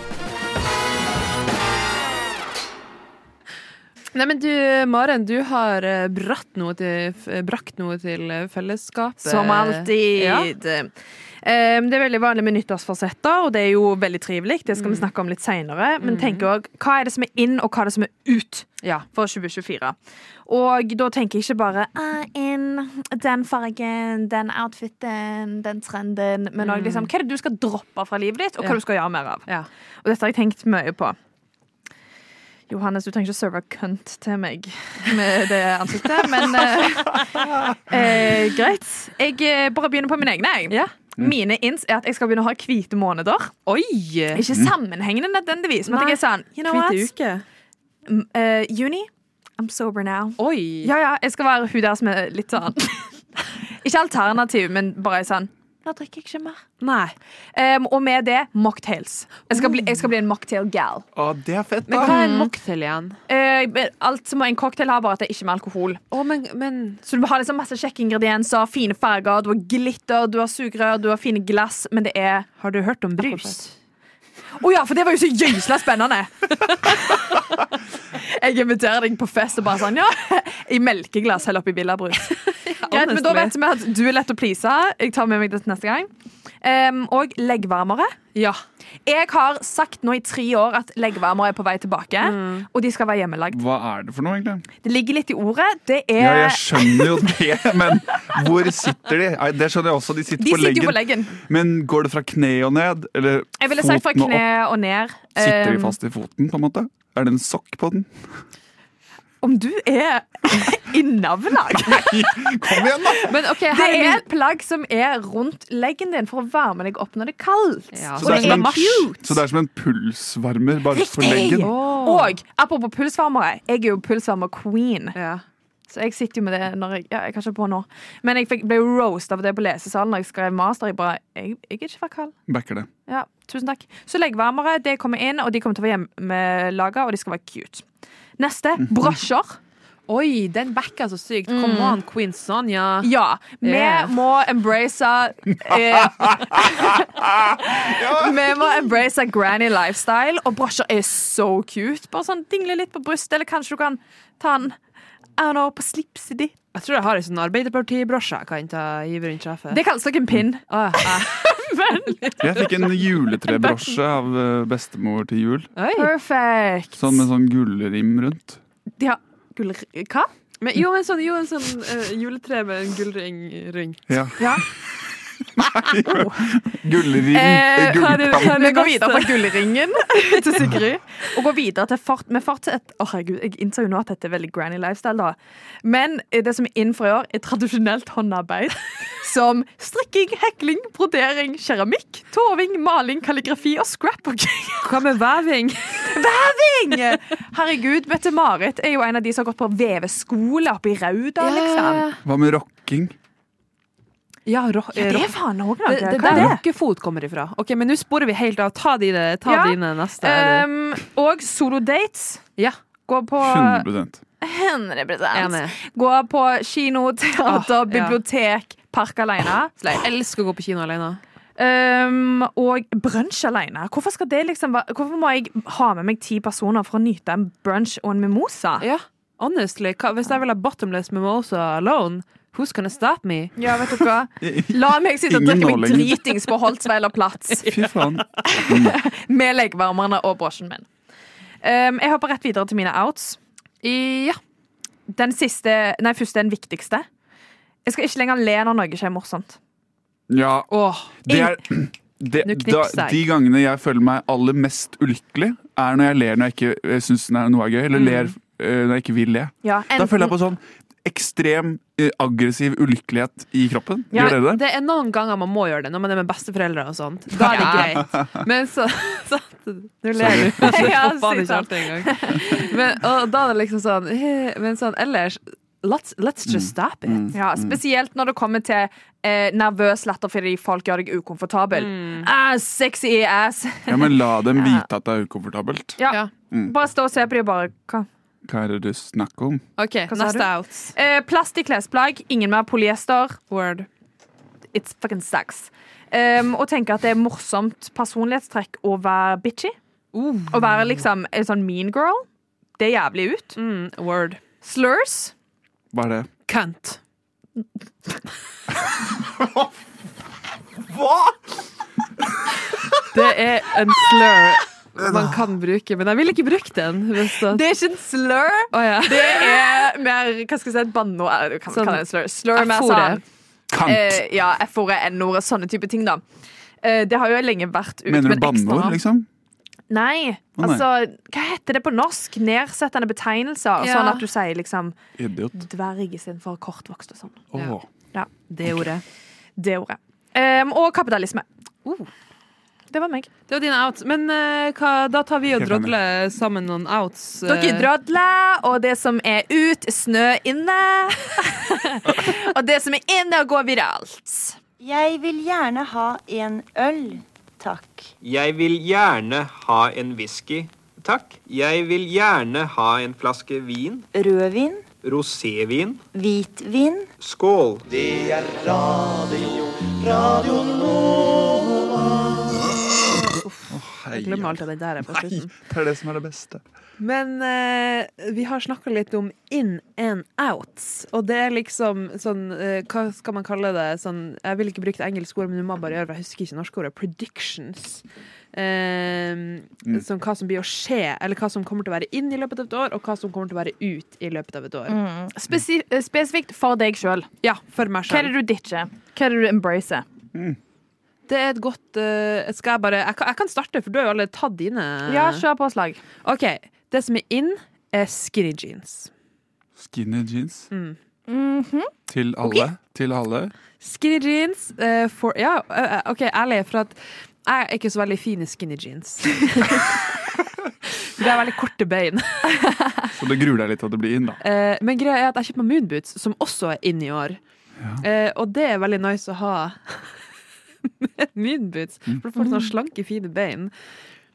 Speaker 5: Nei, men du, Maren, du har eh, bratt noe til, f- brakt noe til eh, fellesskapet.
Speaker 7: Som alltid.
Speaker 5: Eh, Ja.
Speaker 7: Ehm, Det er veldig vanlig med nyttårsforsetter, og det er jo veldig trivelig. Det skal vi snakke om litt seinere. Men tenk òg hva er det som er inn, og hva er det som er ut
Speaker 5: Ja.
Speaker 7: for 2024? Og da tenker jeg ikke bare «Ah, inn, den fargen, den outfiten, den trenden, men òg liksom, hva er det du skal droppe fra livet ditt,
Speaker 5: Mm.
Speaker 7: og
Speaker 5: Ja.
Speaker 7: hva du skal gjøre mer av.
Speaker 5: Ja.
Speaker 7: Og dette har jeg tenkt mye på. Johannes, du trenger ikke å serve kønt til meg med det ansiktet, men eh, eh, greit. Jeg eh, bare begynner på mine egne. jeg.
Speaker 5: Ja.
Speaker 7: Mine ins er at jeg skal begynne å ha hvite måneder.
Speaker 5: Oi!
Speaker 7: Ikke sammenhengende nødvendigvis, men at
Speaker 5: Nei.
Speaker 7: jeg er sånn you know what?
Speaker 5: Hvit uke.
Speaker 7: M- eh, Juni, I'm sober now.
Speaker 5: Oi!
Speaker 7: Ja, ja, jeg skal være hun der som er litt sånn Ikke alternativ, men bare sånn Nå drikker jeg ikke mer.
Speaker 5: Nei.
Speaker 7: Em, og med det mocktails. Jeg skal bli, jeg skal bli en mocktail-gal.
Speaker 6: Å, det er fett,
Speaker 5: Men
Speaker 6: da!
Speaker 5: hva er en mocktail igjen?
Speaker 7: Eh, men alt som en cocktail har, bare at det er ikke med alkohol.
Speaker 5: Å, men, men
Speaker 7: Så du har liksom masse kjekke ingredienser, fine farger, du har glitter, du har sugerør, du har fine glass, men det er
Speaker 5: Har du hørt om brus?
Speaker 7: Apropos. Å ja, for det var jo så gysla spennende! jeg inviterer deg på fest og bare sånn, ja, i melkeglass heller oppi villabrus. Greit, men da
Speaker 5: honestly.
Speaker 7: vet vi at du er lett å please. Jeg tar med meg det til neste gang. Em, og leggvarmere.
Speaker 5: Ja.
Speaker 7: Jeg har sagt nå i tre år at leggvarmere er på vei tilbake,
Speaker 5: Mm.
Speaker 7: og de skal være hjemmelagd.
Speaker 6: Hva er det for noe, egentlig?
Speaker 7: Det ligger litt i ordet. Det er
Speaker 6: Ja, jeg skjønner jo det, men hvor sitter de? Nei, Det skjønner jeg også, de sitter,
Speaker 7: De
Speaker 6: på,
Speaker 7: sitter
Speaker 6: leggen.
Speaker 7: jo på leggen.
Speaker 6: Men går det fra kne og ned? Eller
Speaker 7: Jeg ville sagt fra
Speaker 6: foten og
Speaker 7: kne
Speaker 6: opp?
Speaker 7: og ned.
Speaker 6: Sitter de
Speaker 7: Um,
Speaker 6: fast i foten, på en måte? Er det en sokk på den?
Speaker 7: Om du er i navlag!
Speaker 6: Kom igjen, da!
Speaker 5: Men OK,
Speaker 7: Det
Speaker 5: her er
Speaker 7: er
Speaker 5: min
Speaker 7: et plagg som er rundt leggen din for å varme deg opp når det er kaldt.
Speaker 5: Ja,
Speaker 6: Så det, er sånn
Speaker 5: det
Speaker 6: som en,
Speaker 5: er cute.
Speaker 6: så det er som en pulsvarmer, bare på leggen.
Speaker 5: Å.
Speaker 7: Og apropos pulsvarmere, jeg er jo pulsvarmer-queen.
Speaker 5: Ja.
Speaker 7: Så jeg sitter jo med det når jeg Ja, jeg har ikke på nå. Men jeg fikk, ble jo roast av det på lesesalen når jeg skrev master. Jeg bare Jeg, jeg er ikke fra Kall.
Speaker 6: Backer det.
Speaker 7: Ja, tusen takk. Så leggvarmere, det kommer inn, og de kommer til å være hjemmelaga, og de skal være cute. Neste. Brosjer.
Speaker 5: Oi, den backa så sykt.
Speaker 7: Mm.
Speaker 5: Come on, Queen Sonja.
Speaker 7: Ja. Vi
Speaker 5: Yeah.
Speaker 7: må embrace eh, Vi må embrace a granny lifestyle, og brosjer er so cute. Bare sånn dingle litt på brystet, eller kanskje du kan ta den I don't know, på slipset ditt.
Speaker 5: Jeg tror jeg har en sånn Arbeiderparti-brosje jeg kan ta gi rundt sjefet.
Speaker 7: Det kalles nok en pin.
Speaker 5: Å, ja.
Speaker 6: Jeg fikk en juletrebrosje av eh, bestemor til jul.
Speaker 5: Oi.
Speaker 7: Perfect.
Speaker 6: Sånn med sånn gullrim rundt.
Speaker 7: De har gull... Hva?
Speaker 5: Men, jo, men sånn, jo, en sånn eh, juletre med en gullring rundt.
Speaker 6: Ja.
Speaker 7: Ja.
Speaker 6: Gullrim.
Speaker 7: Eh,
Speaker 6: eh,
Speaker 5: hva er det-
Speaker 6: gullkant.
Speaker 5: hva er det
Speaker 7: Vi går
Speaker 5: neste?
Speaker 7: videre fra gullringen til Sigrid. Og går videre til fort, vi fortsetter Å, herregud, jeg innser jo nå at dette er veldig granny lifestyle, da. Men eh, det som er inn for i år, er tradisjonelt håndarbeid. Som strikking, hekling, brodering, keramikk, toving, maling, kalligrafi og scrapbooking.
Speaker 5: Hva med veving?
Speaker 7: Væving! Herregud, Mette-Marit er jo en av de som har gått på veveskole oppe i Rauda, liksom.
Speaker 6: Hva med rocking?
Speaker 5: Ja, ro
Speaker 7: Ja, det
Speaker 5: ro
Speaker 7: er faen òg noe.
Speaker 5: det, det der
Speaker 7: Hva er det?
Speaker 5: rockefot kommer ifra. Ok, Men nå sporer vi helt av. Ta dine, ta
Speaker 7: Ja.
Speaker 5: dine neste. du.
Speaker 7: Um, og solodates.
Speaker 5: ja,
Speaker 7: Gå på
Speaker 6: 100
Speaker 5: enig.
Speaker 7: 100 Gå på kino, teater,
Speaker 5: Ah, ja.
Speaker 7: bibliotek, park alene.
Speaker 5: Jeg elsker å gå på kino alene.
Speaker 7: Um, og brunsj alene. Hvorfor, skal det liksom, være- hvorfor må jeg ha med meg ti personer for å nyte en brunsj og en mimosa?
Speaker 5: Ja. Honestly, hva, hvis jeg vil ha bottomless mimosa alone, who's gonna stop me?
Speaker 7: Ja, vet du hva? La meg sitte og
Speaker 6: Ingen
Speaker 7: drikke
Speaker 6: nå
Speaker 7: meg
Speaker 6: lenger.
Speaker 7: dritings på Holtzweiler plats
Speaker 6: Fy faen.
Speaker 7: med lekevarmerne og brosjen min. Um, jeg hopper rett videre til mine outs. Ja. Den siste Nei, først den viktigste. Jeg skal ikke lenger le når noe skjer morsomt.
Speaker 6: Ja,
Speaker 5: Åh,
Speaker 6: det er det, da,
Speaker 5: Nå knipser jeg.
Speaker 6: De gangene jeg føler meg aller mest ulykkelig, er når jeg ler når jeg ikke syns noe er gøy, eller ler eh, når jeg ikke vil le.
Speaker 7: Ja,
Speaker 6: Da føler
Speaker 7: enten-
Speaker 6: jeg på sånn ekstrem eh, aggressiv ulykkelighet i kroppen.
Speaker 7: Ja,
Speaker 6: Gjør dere det?
Speaker 5: det er noen ganger man må gjøre det, når man er med besteforeldre og sånt. Da er det greit. Men så, så Nå ler du.
Speaker 7: Sorry. Ja,
Speaker 5: Jeg får faen
Speaker 7: si sånn.
Speaker 5: ikke
Speaker 7: sant.
Speaker 5: alt en gang. Men, og da er det liksom sånn eh, Men sånn ellers Let's, let's just stop it.
Speaker 7: Ja, Spesielt når det kommer til eh, nervøs latter fordi folk gjør deg ukomfortabel. Ah, sexy ass.
Speaker 6: Ja, men la dem vite at det er ukomfortabelt.
Speaker 7: Ja.
Speaker 5: Ja.
Speaker 7: Mm. Bare stå og se på dem og bare hva?
Speaker 6: Hva er det du snakker om?
Speaker 5: OK,
Speaker 7: sa du?
Speaker 5: neste out.
Speaker 7: Eh, Plast i klesplagg. Ingen mer polyester.
Speaker 5: Word.
Speaker 7: It's fucking sucks. Um, og tenke at det er morsomt personlighetstrekk å være bitchy. Å være liksom en sånn mean girl. Det er jævlig ut.
Speaker 5: Mm, word.
Speaker 7: Slurs.
Speaker 6: Hva er det?
Speaker 5: Cunt.
Speaker 3: Hva?!
Speaker 5: Det er en slur man kan bruke, men jeg vil ikke bruke den. Hvis det,
Speaker 7: Det er ikke en slur.
Speaker 5: Å, ja.
Speaker 7: Det er mer hva skal jeg si, et banneord. Eller Kan man
Speaker 5: Sånn
Speaker 7: kalle det en slur? Slur mer
Speaker 5: F-ordet.
Speaker 7: sånn
Speaker 6: Kant!
Speaker 7: eh, Ja, F-ordet, N-ordet, sånne type ting, da. Eh, det har jo lenge vært ut
Speaker 6: Mener
Speaker 7: med
Speaker 6: du
Speaker 7: et ekstra
Speaker 6: banneord,
Speaker 7: navn.
Speaker 6: liksom?
Speaker 7: Nei.
Speaker 6: Å, nei.
Speaker 7: Altså, hva heter det på norsk? Nedsettende betegnelser.
Speaker 5: Ja.
Speaker 7: Sånn at du sier liksom
Speaker 6: Idiot.
Speaker 7: dverg istedenfor kortvokst og sånn.
Speaker 6: Åh.
Speaker 5: Ja.
Speaker 7: Ja.
Speaker 5: Det ordet.
Speaker 7: Det ordet. Ehm, og kapitalisme.
Speaker 5: Uh.
Speaker 7: Det var meg.
Speaker 5: Det var dine outs. Men eh, hva, da tar vi og
Speaker 6: Helt enig.
Speaker 5: drodler sammen noen outs. eh,
Speaker 7: Dere drodler, og det som er ut, er snø inne. og det som er inne, går viralt.
Speaker 9: Jeg vil gjerne ha en øl, takk.
Speaker 10: Jeg vil gjerne ha en whisky, takk. Jeg vil gjerne ha en flaske vin,
Speaker 9: Rødvin,
Speaker 10: rosévin.
Speaker 9: hvitvin.
Speaker 10: Skål!
Speaker 5: Jeg glemmer alt av det der på slutten.
Speaker 6: Det er det som er det beste.
Speaker 5: Men eh, vi har snakka litt om in and outs, og det er liksom sånn eh, Hva skal man kalle det? Sånn, jeg vil ikke bruke det engelske ordet, men du må bare gjøre det. Jeg husker ikke norske ordet. Predictions. Eh,
Speaker 6: Mm.
Speaker 5: Som hva som blir å skje, eller hva som kommer til å være inn i løpet av et år, og hva som kommer til å være ut i løpet av et år.
Speaker 7: Spesi eh, spesifikt for deg sjøl.
Speaker 5: Ja, for meg
Speaker 7: Hva er
Speaker 5: selv.
Speaker 7: det du ditcher? Hva er det du embracer?
Speaker 5: Det er et godt eh, Skal jeg bare jeg kan, jeg kan starte, for du har jo alle tatt dine.
Speaker 7: Ja, kjør på slag.
Speaker 5: OK. Det som er in, er skinny jeans.
Speaker 6: Skinny jeans.
Speaker 7: Mm.
Speaker 5: Mhm.
Speaker 6: Til alle. Til alle.
Speaker 5: Skinny jeans eh, for Ja, eh, OK, ærlig, for at jeg er ikke så veldig fin i skinny jeans. Det er veldig korte bein.
Speaker 6: Så det gruer deg litt at det blir inn, da.
Speaker 5: Eh, men greia er at jeg kjøper meg moonboots, som også er inn i år. Eh, og det er veldig nice å ha med moonboots, for du får
Speaker 6: Mhm.
Speaker 5: sånne slanke, fine bein.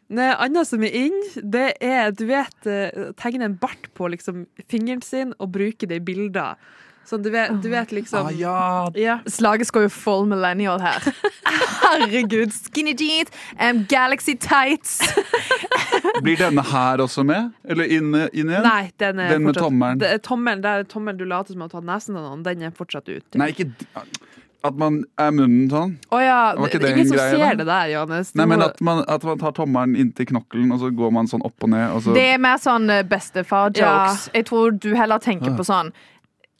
Speaker 5: Noe annet som er inn, det er du vet, eh, tegne en bart på liksom, fingeren sin og bruke det i bilder. Sånn, du vet, du vet liksom
Speaker 6: Ah, ja.
Speaker 5: Ja.
Speaker 7: Slaget skal jo full millennial her. Herregud. Skinny jeans, em, Galaxy tights.
Speaker 6: Blir denne her også med? Eller inn, inn igjen?
Speaker 5: Nei, den er
Speaker 6: Den med
Speaker 5: fortsatt-
Speaker 6: tommelen.
Speaker 5: Det er tommelen, det er tommelen du later som har tatt nesen av noen, den er fortsatt ute.
Speaker 6: Nei, ikke d- At man er munnen sånn?
Speaker 5: Å ja,
Speaker 6: Var ikke
Speaker 5: det er
Speaker 6: det
Speaker 5: ingen
Speaker 6: en
Speaker 5: som
Speaker 6: greie,
Speaker 5: ser
Speaker 6: da?
Speaker 5: det der, Johannes. Du
Speaker 6: Nei, men
Speaker 5: må-
Speaker 6: at man, at man tar tommelen inntil knokkelen, og så går man sånn opp og ned, og så
Speaker 7: Det er mer sånn eh, bestefar-jokes. Jeg tror du heller tenker på sånn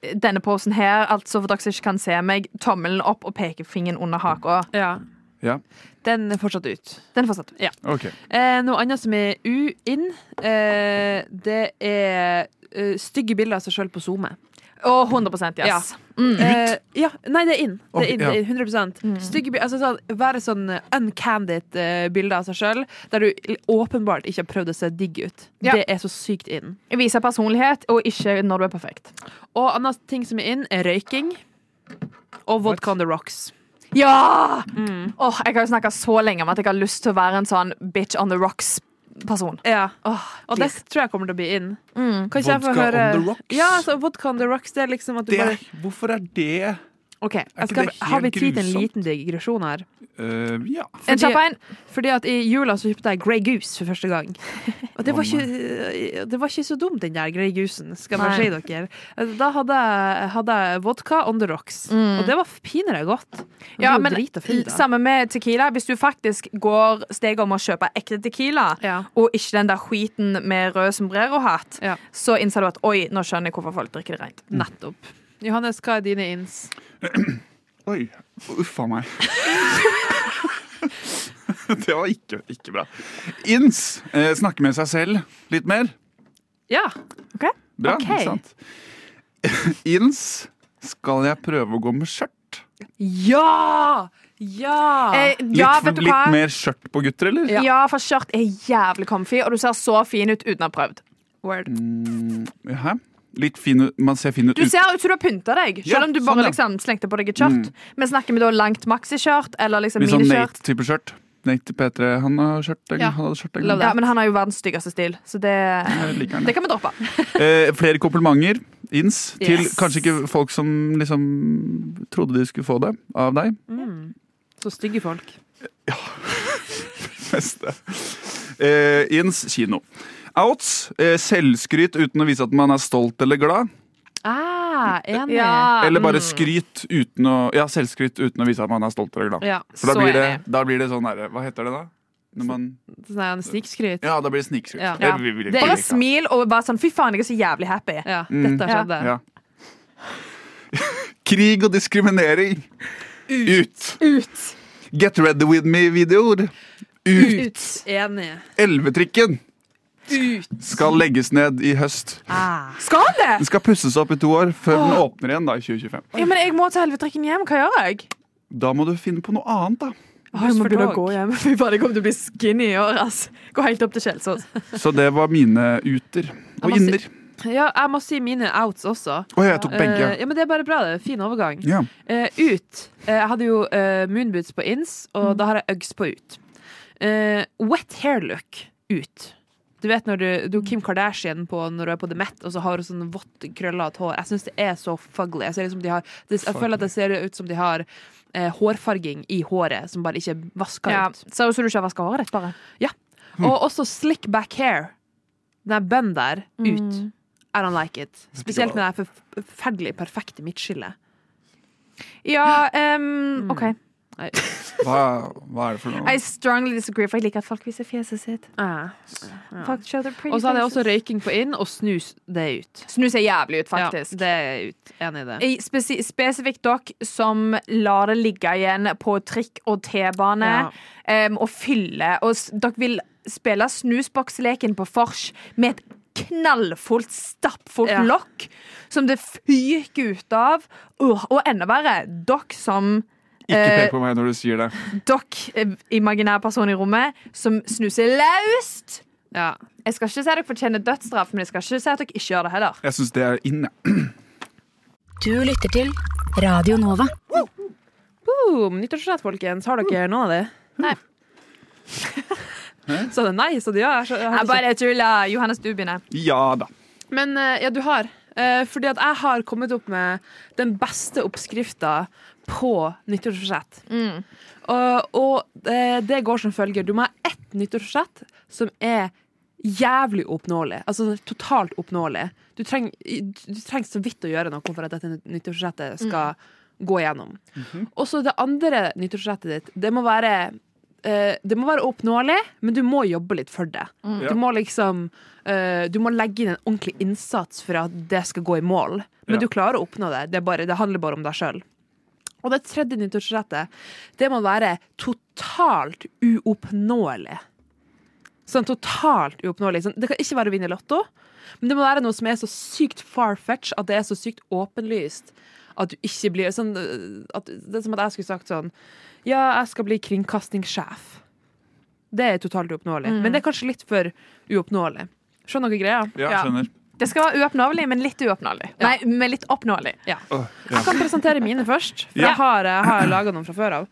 Speaker 7: eh, denne posen her, altså for dere som ikke kan se meg, tommelen opp og pekefingeren under haka.
Speaker 5: ja.
Speaker 6: Ja.
Speaker 5: Den er fortsatt ut.
Speaker 7: Den fortsetter. Ja.
Speaker 6: OK.
Speaker 5: Eh, noe annet som er u-inn, eh, det er eh, stygge bilder av seg sjøl på SoMe.
Speaker 7: Og 100 yes.
Speaker 5: Eh, ja, nei, det er inn. Det
Speaker 6: Mm. Ok,
Speaker 5: er inn,
Speaker 6: ja.
Speaker 5: det er inn 100 Stygge, bi- altså, sånn, Være sånn eh, uncandid eh, bilder av seg sjøl, der du l- åpenbart ikke har prøvd å se digg ut.
Speaker 7: Ja.
Speaker 5: Det er så sykt inn.
Speaker 7: Vise personlighet, og ikke når du er perfekt.
Speaker 5: Og annen ting som er inn, er røyking. Og vodka on the rocks.
Speaker 7: Ja! Åh, jeg har jo snakka så lenge om at jeg har lyst til å være en sånn bitch on the rocks-person.
Speaker 5: Ja. og det
Speaker 7: please.
Speaker 5: tror jeg kommer til å bli inn. Kan ikke jeg få
Speaker 6: Vodka
Speaker 5: høre
Speaker 6: on the rocks?
Speaker 5: Ja, altså, vodka on the rocks, det er liksom at du
Speaker 6: Det,
Speaker 5: bare
Speaker 6: hvorfor er det
Speaker 5: OK, jeg
Speaker 6: ikke
Speaker 5: skal,
Speaker 6: det helt
Speaker 5: har vi tid til en
Speaker 6: grusomt?
Speaker 5: liten digresjon her?
Speaker 6: Eh, ja.
Speaker 7: En
Speaker 5: Fordi-
Speaker 7: kjapp en.
Speaker 5: Fordi at i jula så kjøpte jeg Grey Goose for første gang. Og det var ikke, eh, det var ikke så dumt, den der Grey Goosen, skal jeg bare si dere. Altså, Da hadde jeg, hadde jeg vodka on the rocks, og det var pinere godt. Jeg ble
Speaker 7: Ja,
Speaker 5: jo
Speaker 7: men
Speaker 5: drita full da.
Speaker 7: Samme med tequila. Hvis du faktisk går steget om å kjøpe ekte tequila,
Speaker 5: Ja.
Speaker 7: og ikke den der skiten med rød sombrero-hatt,
Speaker 5: Ja.
Speaker 7: så innser du at oi, nå skjønner jeg hvorfor folk drikker det rent.
Speaker 5: Nettopp. Johannes, hva er dine ins?
Speaker 6: Oi. Uffa meg. det var ikke, ikke bra. Ins. Eh, snakke med seg selv litt mer.
Speaker 5: Ja.
Speaker 6: Bra,
Speaker 5: Ok.
Speaker 6: ikke sant? Ins. Skal jeg prøve å gå med skjørt?
Speaker 5: Ja! Ja!
Speaker 7: Eh,
Speaker 6: Litt,
Speaker 7: ja,
Speaker 6: for-
Speaker 7: vet du hva?
Speaker 6: litt mer skjørt på gutter, eller?
Speaker 7: Ja. for skjørt er jævlig comfy, og du ser så fin ut uten å ha prøvd.
Speaker 5: Word.
Speaker 6: Hæ? Litt fin ut, man ser fin ut
Speaker 7: Du ser ut som du har pynta deg,
Speaker 6: Ja,
Speaker 7: selv om du
Speaker 6: sånn,
Speaker 7: bare
Speaker 6: ja.
Speaker 7: liksom slengte på deg et skjørt. Men snakker vi da langt maxiskjørt eller liksom
Speaker 6: Litt sånn
Speaker 7: miniskjørt?
Speaker 6: Nate-type skjørt. Nate P3, han har skjørt. jeg-
Speaker 5: Ja.
Speaker 6: Han hadde skjørt jeg.
Speaker 5: Love
Speaker 7: Ja, men han har jo verdens styggeste stil, så det,
Speaker 6: Jeg liker han, ja.
Speaker 7: det kan vi droppe.
Speaker 6: Eh, flere komplimenter, ins, til
Speaker 5: Yes.
Speaker 6: kanskje ikke folk som liksom trodde de skulle få det av deg.
Speaker 5: Så stygge folk.
Speaker 6: Beste. Eh, ins kino. Outs eh, selvskryt uten å vise at man er stolt eller glad.
Speaker 5: Ah, enig.
Speaker 7: Ja,
Speaker 6: Eller bare
Speaker 7: mm.
Speaker 6: skryt uten å Ja, selvskryt uten å vise at man er stolt eller glad.
Speaker 5: Ja,
Speaker 6: For da
Speaker 7: så
Speaker 6: blir det,
Speaker 7: enig.
Speaker 6: da blir det sånn derre Hva heter det da? Når man,
Speaker 5: Sånn snikskryt.
Speaker 6: ja, da blir det snikskryt.
Speaker 5: Ja.
Speaker 6: Det vil vi ikke
Speaker 7: Bare
Speaker 6: like.
Speaker 7: smil og bare sånn 'fy faen, jeg er så jævlig happy'.
Speaker 5: Ja,
Speaker 6: Mm.
Speaker 5: dette
Speaker 7: Ja.
Speaker 5: skjedde.
Speaker 6: Ja. Krig og diskriminering. Ut. Get ready with me-videoer. Ut.
Speaker 5: Ut. Enig.
Speaker 6: Elvetrikken skal legges ned i høst.
Speaker 7: Skal det?
Speaker 6: Den skal pusses opp i to år før den åpner igjen da i 2025.
Speaker 7: Ja, men jeg må til helvete drikken hjem. Hva gjør jeg?
Speaker 6: Da må du finne på noe annet, da.
Speaker 7: Å, jeg må
Speaker 5: for
Speaker 7: begynne
Speaker 5: dog.
Speaker 7: å gå hjem. Fy faen, jeg kommer til å bli skinny i år. ass. Gå helt opp til Kjelsås.
Speaker 6: Så det var mine uter. Og
Speaker 5: må si-
Speaker 6: inner.
Speaker 5: Ja, jeg må si mine outs også.
Speaker 6: Å, jeg tok begge.
Speaker 5: Eh, ja, men Det er bare bra. det, Fin overgang.
Speaker 6: Ja.
Speaker 5: Eh, ut. Eh, jeg hadde jo eh, moonboots på ins,
Speaker 7: Mm.
Speaker 5: og da har jeg Uggs på ut. Eh, wet hair look ut. Du vet når du, du er Kim Kardashian på når du er på The Met, og så har hun sånn vått, krøllete hår. Jeg syns det er så fugly. Jeg, ser ut som de har, det, jeg føler at det ser ut som de har eh, hårfarging i håret som bare ikke er vaska
Speaker 7: Ja,
Speaker 5: ut.
Speaker 7: Ser ut som du ikke har vaska håret ditt, bare.
Speaker 5: Og også slick back hair. Den der bønn der, ut. I don't like it. Spesielt med det her forf- forferdelig perfekte midtskillet.
Speaker 7: Ja, ehm, OK.
Speaker 6: Hva, hva er det for noe?
Speaker 7: I strongly disagree, for jeg liker at folk viser fjeset sitt. Folk show their pretty
Speaker 5: Og så hadde jeg også
Speaker 7: faces.
Speaker 5: røyking på inn og snus det er ut.
Speaker 7: Snus ser jævlig ut, faktisk.
Speaker 5: Ja, det er ut. Enig i det.
Speaker 7: I spesi spesifikt dere som lar det ligge igjen på trikk og T-bane
Speaker 5: Ja.
Speaker 7: em, og fylle. Og s- dere vil spille snusboksleken på vors med et knallfullt, stappfullt
Speaker 5: Ja.
Speaker 7: lokk som det fyker ut av. Åh, og enda verre, dere som
Speaker 6: Ikke
Speaker 7: eh,
Speaker 6: pek på meg når du sier det.
Speaker 7: Dere, eh, imaginær person i rommet, som snuser løst.
Speaker 5: Ja.
Speaker 7: Jeg skal ikke si at dere fortjener dødsstraff, men jeg skal ikke si at dere ikke gjør det heller.
Speaker 6: Jeg syns det er inn, jeg.
Speaker 11: Du lytter til Radio Nova.
Speaker 5: Boom! Nyttårsforsett, folkens. Har dere noen av det?
Speaker 7: Nei.
Speaker 5: Så det er nei, så det ja. jeg skjø- jeg hadde
Speaker 7: Jeg bare tuller. Johannes, du begynner.
Speaker 6: Ja da.
Speaker 5: ikke- Men eh, ja, du har. Eh, Fordi at jeg har kommet opp med den beste oppskrifta på nyttårsforsett. Og, og eh, det går som følger. Du må ha ett nyttårsforsett som er jævlig oppnåelig. Altså sånn totalt oppnåelig. Du trenger du trenger så vidt å gjøre noe for at dette nyttårsforsettet skal gå igjennom. Og så det andre nyttårsforsettet ditt, det må være eh, det må være oppnåelig, men du må jobbe litt for det. Du må liksom eh, Du må legge inn en ordentlig innsats for at det skal gå i mål. Men
Speaker 6: Ja.
Speaker 5: du klarer å oppnå det. Det, er bare, det handler bare om deg sjøl. Og det tredje nyttårsrettet, det må være totalt uoppnåelig. Sånn totalt uoppnåelig. Sånn, det kan ikke være å vinne lotto, men det må være noe som er så sykt far-fetch at det er så sykt åpenlyst at du ikke blir sånn øh, at, Det er som at jeg skulle sagt sånn Ja, jeg skal bli kringkastingssjef. Det er totalt uoppnåelig. Men det er kanskje litt for uoppnåelig. Skjønner dere greia?
Speaker 6: Ja,
Speaker 7: Ja.
Speaker 6: skjønner.
Speaker 7: Det skal være uoppnåelig, men litt uoppnåelig.
Speaker 5: Ja.
Speaker 7: Nei, men litt oppnåelig.
Speaker 6: Åh, ja.
Speaker 5: Jeg kan presentere mine først, for
Speaker 6: Ja.
Speaker 5: jeg har, jeg har laga noen fra før av.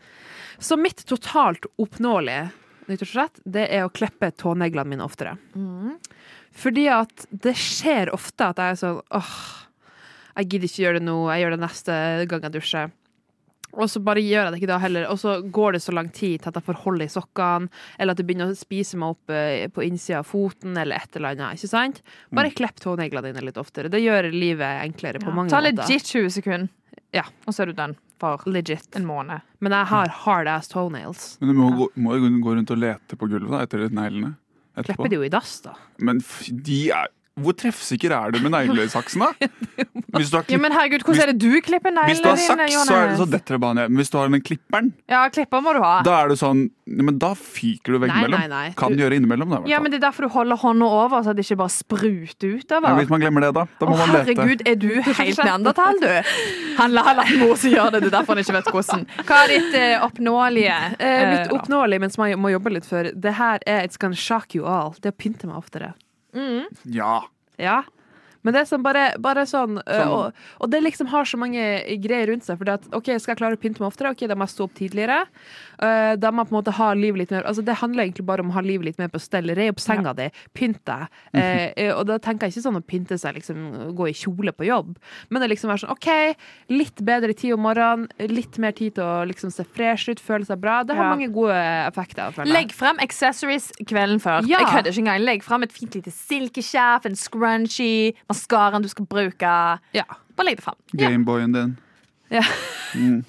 Speaker 5: Så mitt totalt oppnåelige nyttårsrett, det er å klippe tåneglene mine oftere. Fordi at det skjer ofte at jeg er sånn åh, jeg gidder ikke gjøre det nå, jeg gjør det neste gang jeg dusjer. Og så bare gjør jeg det ikke da heller. Og så går det så lang tid til at jeg får hold i sokkene, eller at det begynner å spise meg opp eh, på innsida av foten, eller et eller annet. ikke sant? Bare
Speaker 7: Mm.
Speaker 5: klipp tåneglene dine litt oftere. Det gjør livet enklere på mange
Speaker 7: Ta
Speaker 5: måter.
Speaker 7: legit 20 sekunder,
Speaker 5: Ja.
Speaker 7: og så er du den for
Speaker 5: en
Speaker 7: måned.
Speaker 5: Men jeg har hard ass toenails.
Speaker 6: Men du må, gå, må jo gå rundt og lete på gulvet da, etter neglene. etterpå.
Speaker 5: Klipper de jo i dass, da.
Speaker 6: Men f- de er Hvor treffsikker er du med neglesaksen, da? Hvis du har,
Speaker 7: Ja,
Speaker 6: klipp,
Speaker 7: men herregud, hvordan er det du klipper neglene
Speaker 6: hvis du har saks, så, er det, så
Speaker 7: Johannes?
Speaker 6: detter det bare ned. Men hvis du har den klipperen,
Speaker 7: Ja, klipper må du ha.
Speaker 6: da er det sånn Nei, Men da fyker du
Speaker 7: Nei,
Speaker 6: veggimellom.
Speaker 7: nei, nei.
Speaker 6: Kan
Speaker 7: Du-
Speaker 6: gjøre innimellom, da. i hvert
Speaker 7: Ja,
Speaker 6: fall.
Speaker 7: men det er derfor du holder hånda over, så det ikke bare spruter utover.
Speaker 6: Ja, hvis man glemmer det, da. Da må
Speaker 7: Å,
Speaker 6: man lete.
Speaker 7: herregud, er du helt neandertal, du? Han la la mor som gjør det, det er derfor han ikke vet hvordan. Hva er ditt eh, oppnåelige?
Speaker 5: Eh,
Speaker 7: eh,
Speaker 5: mitt oppnåelige mens man må jobbe litt for Det her er It's gonna shock you all. Det å pynte meg oftere.
Speaker 7: Mm.
Speaker 6: Ja.
Speaker 5: Ja. Men det er sånn bare, bare sånn, eh,
Speaker 7: Sånn.
Speaker 5: Og, og det liksom har så mange greier rundt seg. For det at, ok, Skal jeg klare å pynte meg oftere? Ok, Da må jeg stå opp tidligere. Eh, da må jeg på en måte ha livet litt mer Altså Det handler egentlig bare om å ha livet litt mer på stell. Re opp senga di, pynt deg.
Speaker 7: Mhm.
Speaker 5: Eh, eh, og da tenker jeg ikke sånn å pynte seg, liksom gå i kjole på jobb. Men det liksom være sånn OK, litt bedre tid om morgenen, litt mer tid til å liksom se fresh ut, føle seg bra. Det har
Speaker 7: Ja.
Speaker 5: mange gode effekter. føler jeg.
Speaker 7: Legg frem accessories kvelden før.
Speaker 5: Ja.
Speaker 7: Jeg kødder ikke engang. Legg frem et fint lite silkeskjerf, en scrunchie, maskaraen du skal bruke. Bare legg det frem.
Speaker 6: Gameboyen din.
Speaker 5: Ja.
Speaker 6: Mm.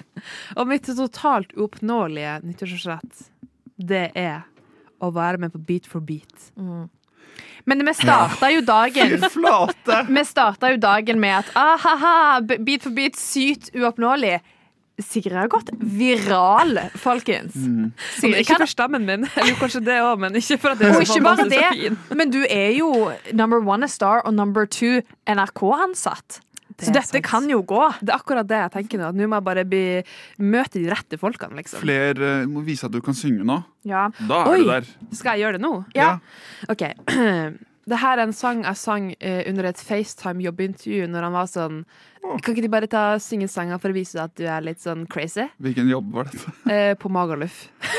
Speaker 5: Og mitt totalt uoppnåelige nyttårsforsett, det er å være med på Beat for beat.
Speaker 7: Men vi starta jo dagen
Speaker 5: Fy flate.
Speaker 7: Vi starta jo dagen med at ahaha, b- beat for beat, sykt uoppnåelig. Sigrid har gått viral, folkens.
Speaker 5: Sånn,
Speaker 7: Sigrid
Speaker 5: ikke
Speaker 7: kan-
Speaker 5: for stemmen min, eller kanskje det òg, men ikke for at det er
Speaker 7: og
Speaker 5: så
Speaker 7: ikke bare
Speaker 5: fantastisk og
Speaker 7: det,
Speaker 5: fin.
Speaker 7: men du er jo number one a star og number two NRK-ansatt.
Speaker 5: Det
Speaker 7: så
Speaker 5: er
Speaker 7: dette
Speaker 5: sant.
Speaker 7: kan jo gå.
Speaker 5: Det er akkurat det jeg tenker nå. at Nå må jeg bare bli, møte de rette folkene, liksom.
Speaker 6: Fler eh, må vise at du kan synge nå.
Speaker 5: Ja.
Speaker 6: Da er
Speaker 5: Oi,
Speaker 6: du der.
Speaker 5: Skal jeg gjøre det nå?
Speaker 6: Ja.
Speaker 5: OK. Det her er en sang jeg sang eh, under et FaceTime-jobbintervju når han var sånn Kan ikke du bare ta synge sanger for å vise at du er litt sånn crazy?
Speaker 6: Hvilken jobb var dette?
Speaker 5: Eh, på Magaluf.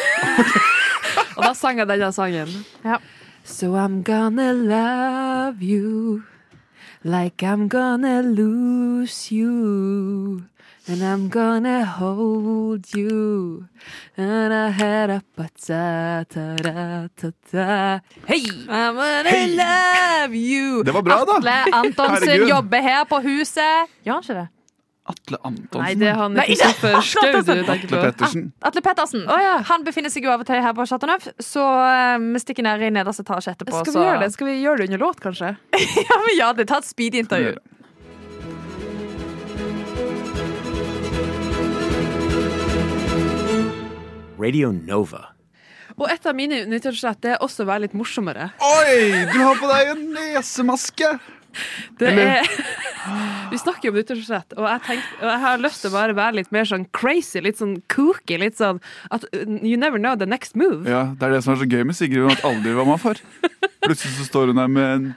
Speaker 5: Og da sang jeg denne sangen. So I'm gonna love you like I'm gonna lose you. And I'm gonna hold you. And I had a patata-ta-ta-ta. Hei!
Speaker 7: I'm gonna love you.
Speaker 5: Det var bra, da.
Speaker 7: Atle Antonsen
Speaker 5: Herregud.
Speaker 7: jobber her på huset. Gjør han ikke det?
Speaker 6: Atle Antonsen.
Speaker 5: Nei, det er han
Speaker 7: Nei, ikke
Speaker 5: Kristoffer Schau du
Speaker 7: Antonsen.
Speaker 5: tenker på.
Speaker 6: Atle Pettersen.
Speaker 7: Atle Pettersen. Han befinner seg jo av og til her på Chateau Neuf, så eh, vi stikker ned i nederste etasje etterpå.
Speaker 5: Skal vi
Speaker 7: så-
Speaker 5: gjøre det? Skal vi gjøre det under låt, kanskje?
Speaker 7: ja, men ja, det. Ta et speedy-intervju.
Speaker 10: Radio Nova.
Speaker 5: Og et av mine nyttårsrett er også å være litt morsommere.
Speaker 6: Oi, du har på deg en nesemaske!
Speaker 5: Det
Speaker 6: Eller-
Speaker 5: er, vi snakker jo om nyttårsrett, og jeg, tenkte, og jeg har lyst til å bare være litt mer sånn crazy, litt sånn kooky, litt sånn at uh, you never know the next move.
Speaker 6: Ja, Det er det som er så gøy med Sigrid. Hun vet aldri hva man får. Plutselig så står hun der med en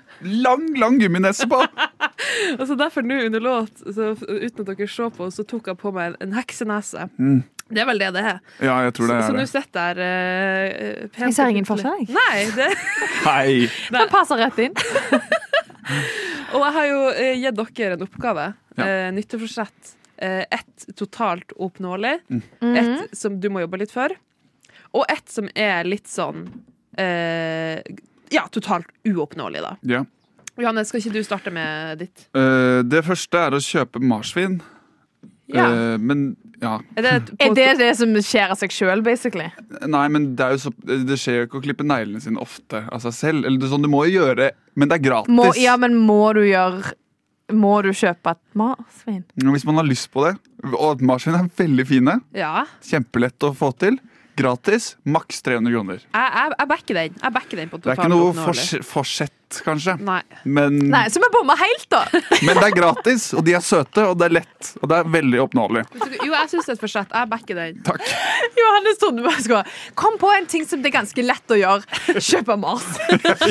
Speaker 6: lang, lang gumminese på.
Speaker 5: Og så Altså, derfor nå under låt, så, uten at dere ser på, så tok jeg på meg en, en heksenese.
Speaker 6: Mm.
Speaker 5: Det er vel det det er.
Speaker 6: Ja, jeg tror det
Speaker 5: så
Speaker 6: er
Speaker 5: nå
Speaker 6: det.
Speaker 5: sitter jeg der uh,
Speaker 7: Jeg ser ingen forskjell, jeg.
Speaker 5: Nei, det
Speaker 6: Hei!
Speaker 7: Den passer rett inn.
Speaker 5: Og jeg har jo eh, gitt dere en oppgave.
Speaker 7: Ja.
Speaker 5: Eh, nytteforsett. Eh, ett totalt oppnåelig.
Speaker 6: Mm.
Speaker 7: Mhm.
Speaker 5: Ett som du må jobbe litt for. Og ett som er litt sånn eh, Ja, totalt uoppnåelig, da.
Speaker 6: Ja.
Speaker 5: Johanne, skal ikke du starte med ditt?
Speaker 6: Eh, det første er å kjøpe marsvin.
Speaker 7: Ja.
Speaker 6: Eh, men ja.
Speaker 5: Er det,
Speaker 7: Er det det som skjer av seg sjøl, basically?
Speaker 6: Nei, men det, er jo så, det skjer jo ikke å klippe neglene sine ofte av seg selv. Eller det, er sånn, du må jo gjøre det, men det er gratis.
Speaker 7: Må, ja, men må du gjøre Må du kjøpe et marsvin?
Speaker 6: Hvis man har lyst på det. Og marsvin er veldig fine.
Speaker 5: Ja.
Speaker 6: Kjempelett å få til. Gratis. Maks 300 kroner.
Speaker 5: Jeg, jeg, jeg backer den. Jeg backer den på
Speaker 6: Det er
Speaker 5: totalt
Speaker 6: ikke noe
Speaker 5: uoppnåelig.
Speaker 6: fors- forsett, kanskje.
Speaker 5: Nei.
Speaker 6: Men,
Speaker 7: Nei, så vi bomma helt, da!
Speaker 6: men det er gratis, og de er søte, og det er lett. Og det er veldig oppnåelig.
Speaker 5: Jo, jeg syns det er et forsett. Jeg backer den.
Speaker 6: Takk.
Speaker 7: Johannes trodde vi skulle Kom på en ting som det er ganske lett å gjøre. Kjøpe Mars.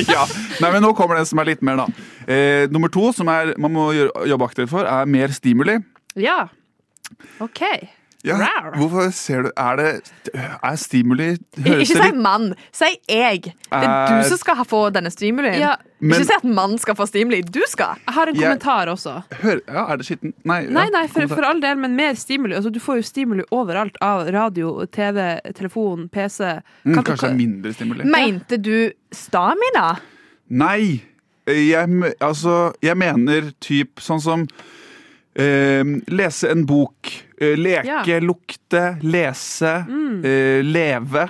Speaker 6: ja. Nei, men nå kommer det som er litt mer, da. Eh, nummer to, som er, man må gjøre- jobbe aktivt for, er mer stimuli.
Speaker 5: Ja. OK.
Speaker 6: Ja, hvorfor ser du Er det Er stimuli
Speaker 7: Ikke
Speaker 6: Høres det
Speaker 7: si
Speaker 6: litt
Speaker 7: mann, si jeg. Det er
Speaker 6: Er-
Speaker 7: du som skal ha- få denne stimulien.
Speaker 6: Ja. Men-
Speaker 7: Ikke si at mann skal få stimuli. Du skal.
Speaker 5: Jeg har en
Speaker 6: Jeg-
Speaker 5: kommentar også.
Speaker 6: Hør, ja, er det skitten? Nei,
Speaker 5: Nei,
Speaker 6: ja,
Speaker 5: nei, for,
Speaker 6: kommentar.
Speaker 5: for all del, men mer stimuli. Altså, du får jo stimuli overalt av radio, TV, telefon, PC.
Speaker 6: mm,
Speaker 5: Kan du-
Speaker 6: Kanskje det er mindre stimuli?
Speaker 7: Mente du stamina?
Speaker 6: Nei! Eh, Jeg, m- altså, jeg mener typ sånn som eh, Lese en bok. eh, leke,
Speaker 5: Ja.
Speaker 6: lukte, lese.
Speaker 5: Mm.
Speaker 6: eh, leve.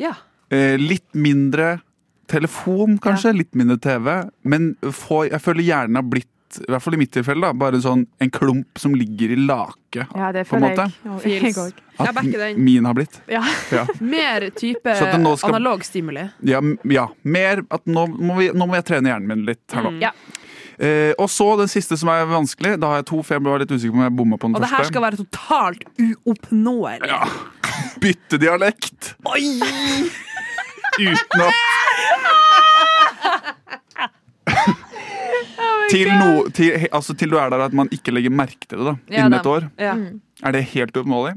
Speaker 5: Ja.
Speaker 6: Eh, litt mindre telefon, kanskje. Litt mindre TV. Men få, jeg føler hjernen har blitt i hvert fall i mitt tilfelle da, bare sånn en klump som ligger i laket.
Speaker 7: Ja, det
Speaker 6: på en måte.
Speaker 5: Feels. Jeg
Speaker 6: At
Speaker 5: backer den.
Speaker 6: min har blitt.
Speaker 7: Ja.
Speaker 6: Ja.
Speaker 5: Mer type
Speaker 6: Så at det nå skal-
Speaker 5: analog stimuli.
Speaker 6: Ja, m- ja. Mer at nå må, vi, nå må jeg trene hjernen min litt her nå.
Speaker 5: Mm. Ja.
Speaker 6: Eh, og så den siste som er vanskelig. Da har jeg to, for jeg var litt usikker på om jeg bomma på den
Speaker 5: Og det her
Speaker 6: første.
Speaker 5: skal være totalt uoppnåelig.
Speaker 6: Bytte dialekt! Uten at
Speaker 5: Oh
Speaker 6: til, no, til, he- altså, til du er der at man ikke legger merke til det da,
Speaker 7: Ja,
Speaker 6: innen
Speaker 7: da.
Speaker 6: et år.
Speaker 7: Ja.
Speaker 6: Er det helt uoppnåelig?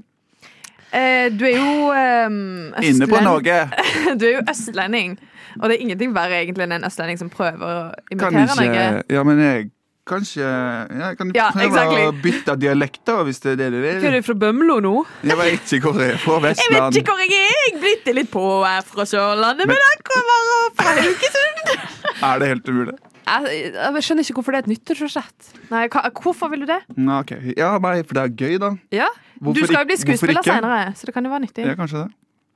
Speaker 7: Eh, du er jo ehm,
Speaker 6: Inne på
Speaker 7: østlend-
Speaker 6: Norge.
Speaker 7: Du er jo østlending. Og det er ingenting verre egentlig enn en østlending som prøver å
Speaker 6: Kan
Speaker 7: imitere noe.
Speaker 6: ikke Ja, men jeg Kanskje Jeg kan
Speaker 7: Ja,
Speaker 6: prøve å
Speaker 7: exactly.
Speaker 6: bytte dialekter, hvis det er det du
Speaker 5: Hva er
Speaker 6: vil.
Speaker 5: det fra Bømlo nå?
Speaker 6: Jeg vet ikke hvor jeg er fra.
Speaker 7: Jeg vet
Speaker 6: Vestland.
Speaker 7: ikke hvor jeg er! Jeg blitt litt på
Speaker 5: eh,
Speaker 7: her fra Sørlandet, men,
Speaker 6: Men-
Speaker 7: jeg kommer fra Haugesund!
Speaker 6: Er det helt umulig?
Speaker 5: Jeg, jeg skjønner ikke hvorfor det er et nyttårsforsett.
Speaker 7: Nei, hva, hvorfor vil du det?
Speaker 6: Nå, ok. Ja, nei, for det er gøy, da.
Speaker 5: Ja.
Speaker 6: Hvorfor
Speaker 7: du skal
Speaker 6: ikk-
Speaker 7: jo bli skuespiller
Speaker 6: hvorfor ikke?
Speaker 7: senere, så det kan jo være nyttig.
Speaker 6: Ja, kanskje det.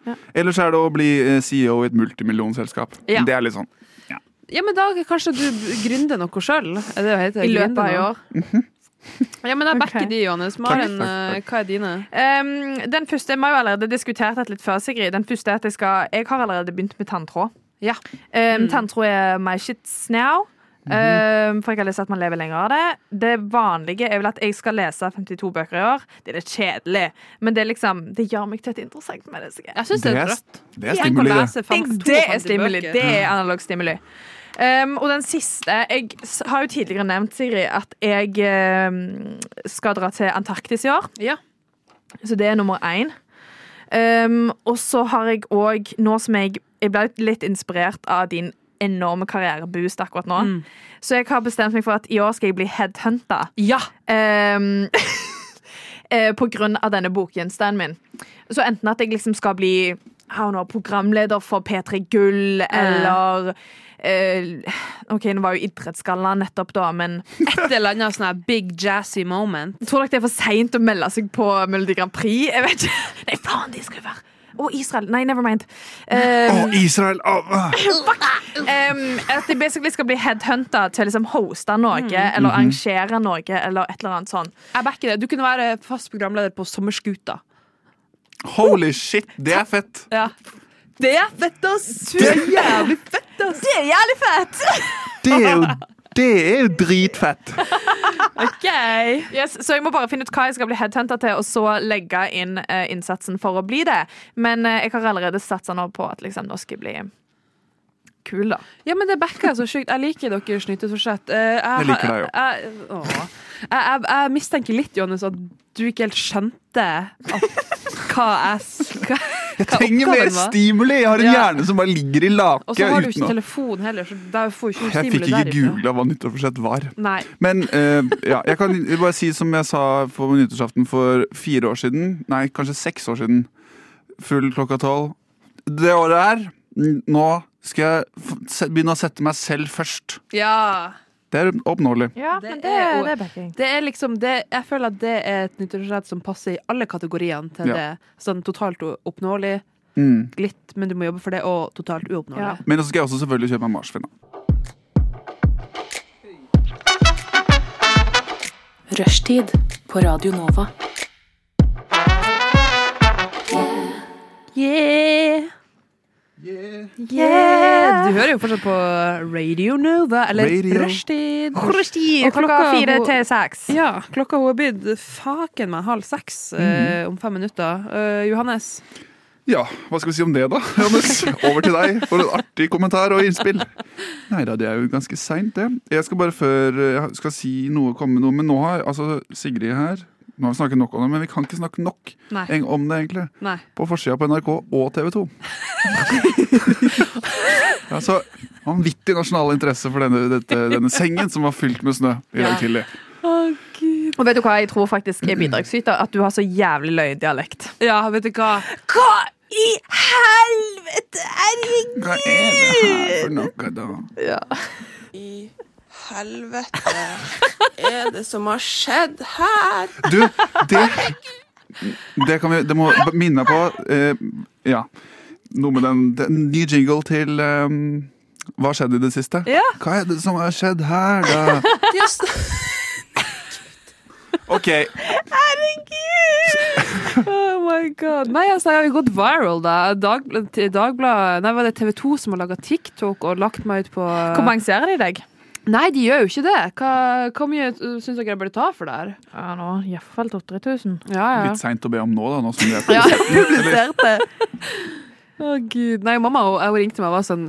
Speaker 7: Ja.
Speaker 6: Ellers er det å bli eh, CEO i et multimillionselskap.
Speaker 5: Ja.
Speaker 6: Det er litt sånn.
Speaker 5: Ja, men da kanskje du gründer noe sjøl?
Speaker 7: I løpet av i år.
Speaker 5: Ja, men jeg backer de, Johannes. Maren,
Speaker 7: Takk, takk,
Speaker 5: eh, hva er dine?
Speaker 7: Ehm, den første, Vi har jo allerede diskutert dette litt før, Sigrid. Den første er at jeg, skal, jeg har allerede begynt med tanntråd. Ehm, Tanntråd er my shits now. Ehm, for jeg har lyst til at man lever lenger av det. Det vanlige er vel at jeg skal lese 52 bøker i år. Det er litt kjedelig, men det, er liksom, det gjør meg til et interessant menneske.
Speaker 5: Jeg syns det er
Speaker 6: Det er-
Speaker 5: drøtt.
Speaker 6: det er stimuli, det.
Speaker 7: det. Det er stimuli. Det er analog stimuli. Ehm, og den siste Jeg s- har jo tidligere nevnt, Sigrid, at jeg ehm, skal dra til Antarktis i år. Så det er nummer én. Ehm, og så har jeg òg, nå som jeg Jeg ble litt inspirert av din enorme karriereboost akkurat nå.
Speaker 5: Mm.
Speaker 7: Så jeg har bestemt meg for at i år skal jeg bli headhunta.
Speaker 5: Ja.
Speaker 7: Ehm, eh, på grunn av denne bokgjenstanden min. Så enten at jeg liksom skal bli I don't know, programleder for P3 Gull, eller eh, OK, nå var jo Idrettsgalla nettopp, da, men
Speaker 5: Et eller annet sånn her big jazzy moment.
Speaker 7: Tror dere det er for seint å melde seg på Melodi Grand Prix? Jeg vet ikke. Nei, faen, de skal jo være Å, Israel. Nei, never mind.
Speaker 6: Å,
Speaker 7: Um,
Speaker 6: Israel! Å, ah.
Speaker 7: fuck. Um, at de basically skal bli headhunta til å liksom hoste noe, eller arrangere noe, eller et eller annet sånn.
Speaker 5: Jeg backer det. Du kunne være fast programleder på Sommerskuta.
Speaker 6: Holy shit, det er fett!
Speaker 5: Ja. Det er fett, ass! Det
Speaker 6: er
Speaker 5: jævlig fett, ass!
Speaker 7: Det er jævlig fett!
Speaker 6: Det er jo, det er jo dritfett!
Speaker 7: Yes, så jeg må bare finne ut hva jeg skal bli headhunta til, og så legge inn eh, innsatsen for å bli det. Men eh, jeg har allerede satsa nå på at liksom, nå skal jeg bli kul, da.
Speaker 5: Ja, men det backer jeg så sjukt. Jeg liker deres nyttårsforsett. Eh,
Speaker 6: Jeg liker deg jo.
Speaker 5: Jeg, åh. jeg, jeg, jeg mistenker litt, Johannes, at du ikke helt skjønte at, hva jeg s- hva,
Speaker 6: Jeg
Speaker 5: hva
Speaker 6: trenger mer
Speaker 5: oppgaven var.
Speaker 6: stimuli! Jeg har en
Speaker 5: Ja.
Speaker 6: hjerne som bare ligger i
Speaker 5: Og så har
Speaker 6: laket
Speaker 5: du ikke
Speaker 6: uten å
Speaker 5: telefon heller, så da får du ikke
Speaker 6: Jeg fikk
Speaker 5: stimuli
Speaker 6: ikke
Speaker 5: derifra.
Speaker 6: googla hva nyttårsforsett var.
Speaker 5: Nei.
Speaker 6: Men eh, ja, jeg kan bare si som jeg sa på nyttårsaften for fire år siden. Nei, kanskje seks år siden. Full klokka tolv. Det året her, n- nå skal jeg f se- begynne å sette meg selv først.
Speaker 5: Ja.
Speaker 6: Det er oppnåelig.
Speaker 7: Ja,
Speaker 5: Det
Speaker 7: men det,
Speaker 5: er jo-
Speaker 7: det er backing.
Speaker 5: Det er liksom det, jeg føler at det er et nyttårsforsett som passer i alle kategoriene til
Speaker 6: Ja.
Speaker 5: det. Sånn totalt u- oppnåelig,
Speaker 6: Mm.
Speaker 5: litt, men du må jobbe for det, og totalt uoppnåelig.
Speaker 6: Men så skal jeg også selvfølgelig kjøpe meg marsvin. da.
Speaker 11: Rushtid på Radio Nova.
Speaker 5: Yeah. Yeah. Du hører jo fortsatt på Radio Nova, eller
Speaker 6: Radio.
Speaker 5: Rushtid.
Speaker 7: Rushtid,
Speaker 5: Og
Speaker 7: klokka fire
Speaker 5: hun-
Speaker 7: til seks.
Speaker 5: Ja, klokka hun er blitt faken meg halv
Speaker 6: Mhm.
Speaker 5: seks eh, om fem minutter. Eh, Johannes,
Speaker 6: Ja, hva skal vi si om det, da? Johannes, over til deg for en artig kommentar og innspill. Nei da, det er jo ganske seint, det. Jeg skal bare før eh, jeg skal si noe, komme med noe, men nå har altså Sigrid her Nå har vi snakket nok om det, men vi kan ikke snakke nok
Speaker 5: Nei.
Speaker 6: eng- om det, egentlig.
Speaker 5: Nei.
Speaker 6: På forsida på NRK og TV 2. ja, så Altså, vanvittig nasjonal interesse for denne, dette, denne sengen som var fylt med snø i dag tidlig.
Speaker 7: Og vet du hva jeg tror faktisk er bidragsyter? At du har så jævlig løgndialekt.
Speaker 5: Ja, vet du hva?
Speaker 7: Hva i helvete? Herregud!
Speaker 6: Hva er det her for noe, da?
Speaker 1: I helvete er det som har skjedd her?
Speaker 6: Du, det Det, kan vi, det må b- minne meg på eh, Ja. Noe med den, den nye jingle til eh, Hva skjedde i det siste? Hva er det som har skjedd her, da?
Speaker 1: Just.
Speaker 6: OK.
Speaker 5: Oh my god. Nei, altså, jeg har jo gått viral, da. Dag, til Dagbladet Nei, var det TV 2 som har laga TikTok og lagt meg ut på
Speaker 7: Kompenserer de deg?
Speaker 5: Nei, de gjør jo ikke det. Hva, hvor mye uh, syns dere jeg burde ta for det her?
Speaker 7: Ja, nå Iallfall 3000.
Speaker 5: Ja, ja.
Speaker 6: Litt seint å be om nå, da. Nå som vi er
Speaker 5: Ja,
Speaker 6: på
Speaker 7: Publiserte.
Speaker 5: Å, gud. Nei, mamma og jeg ringte meg og var sånn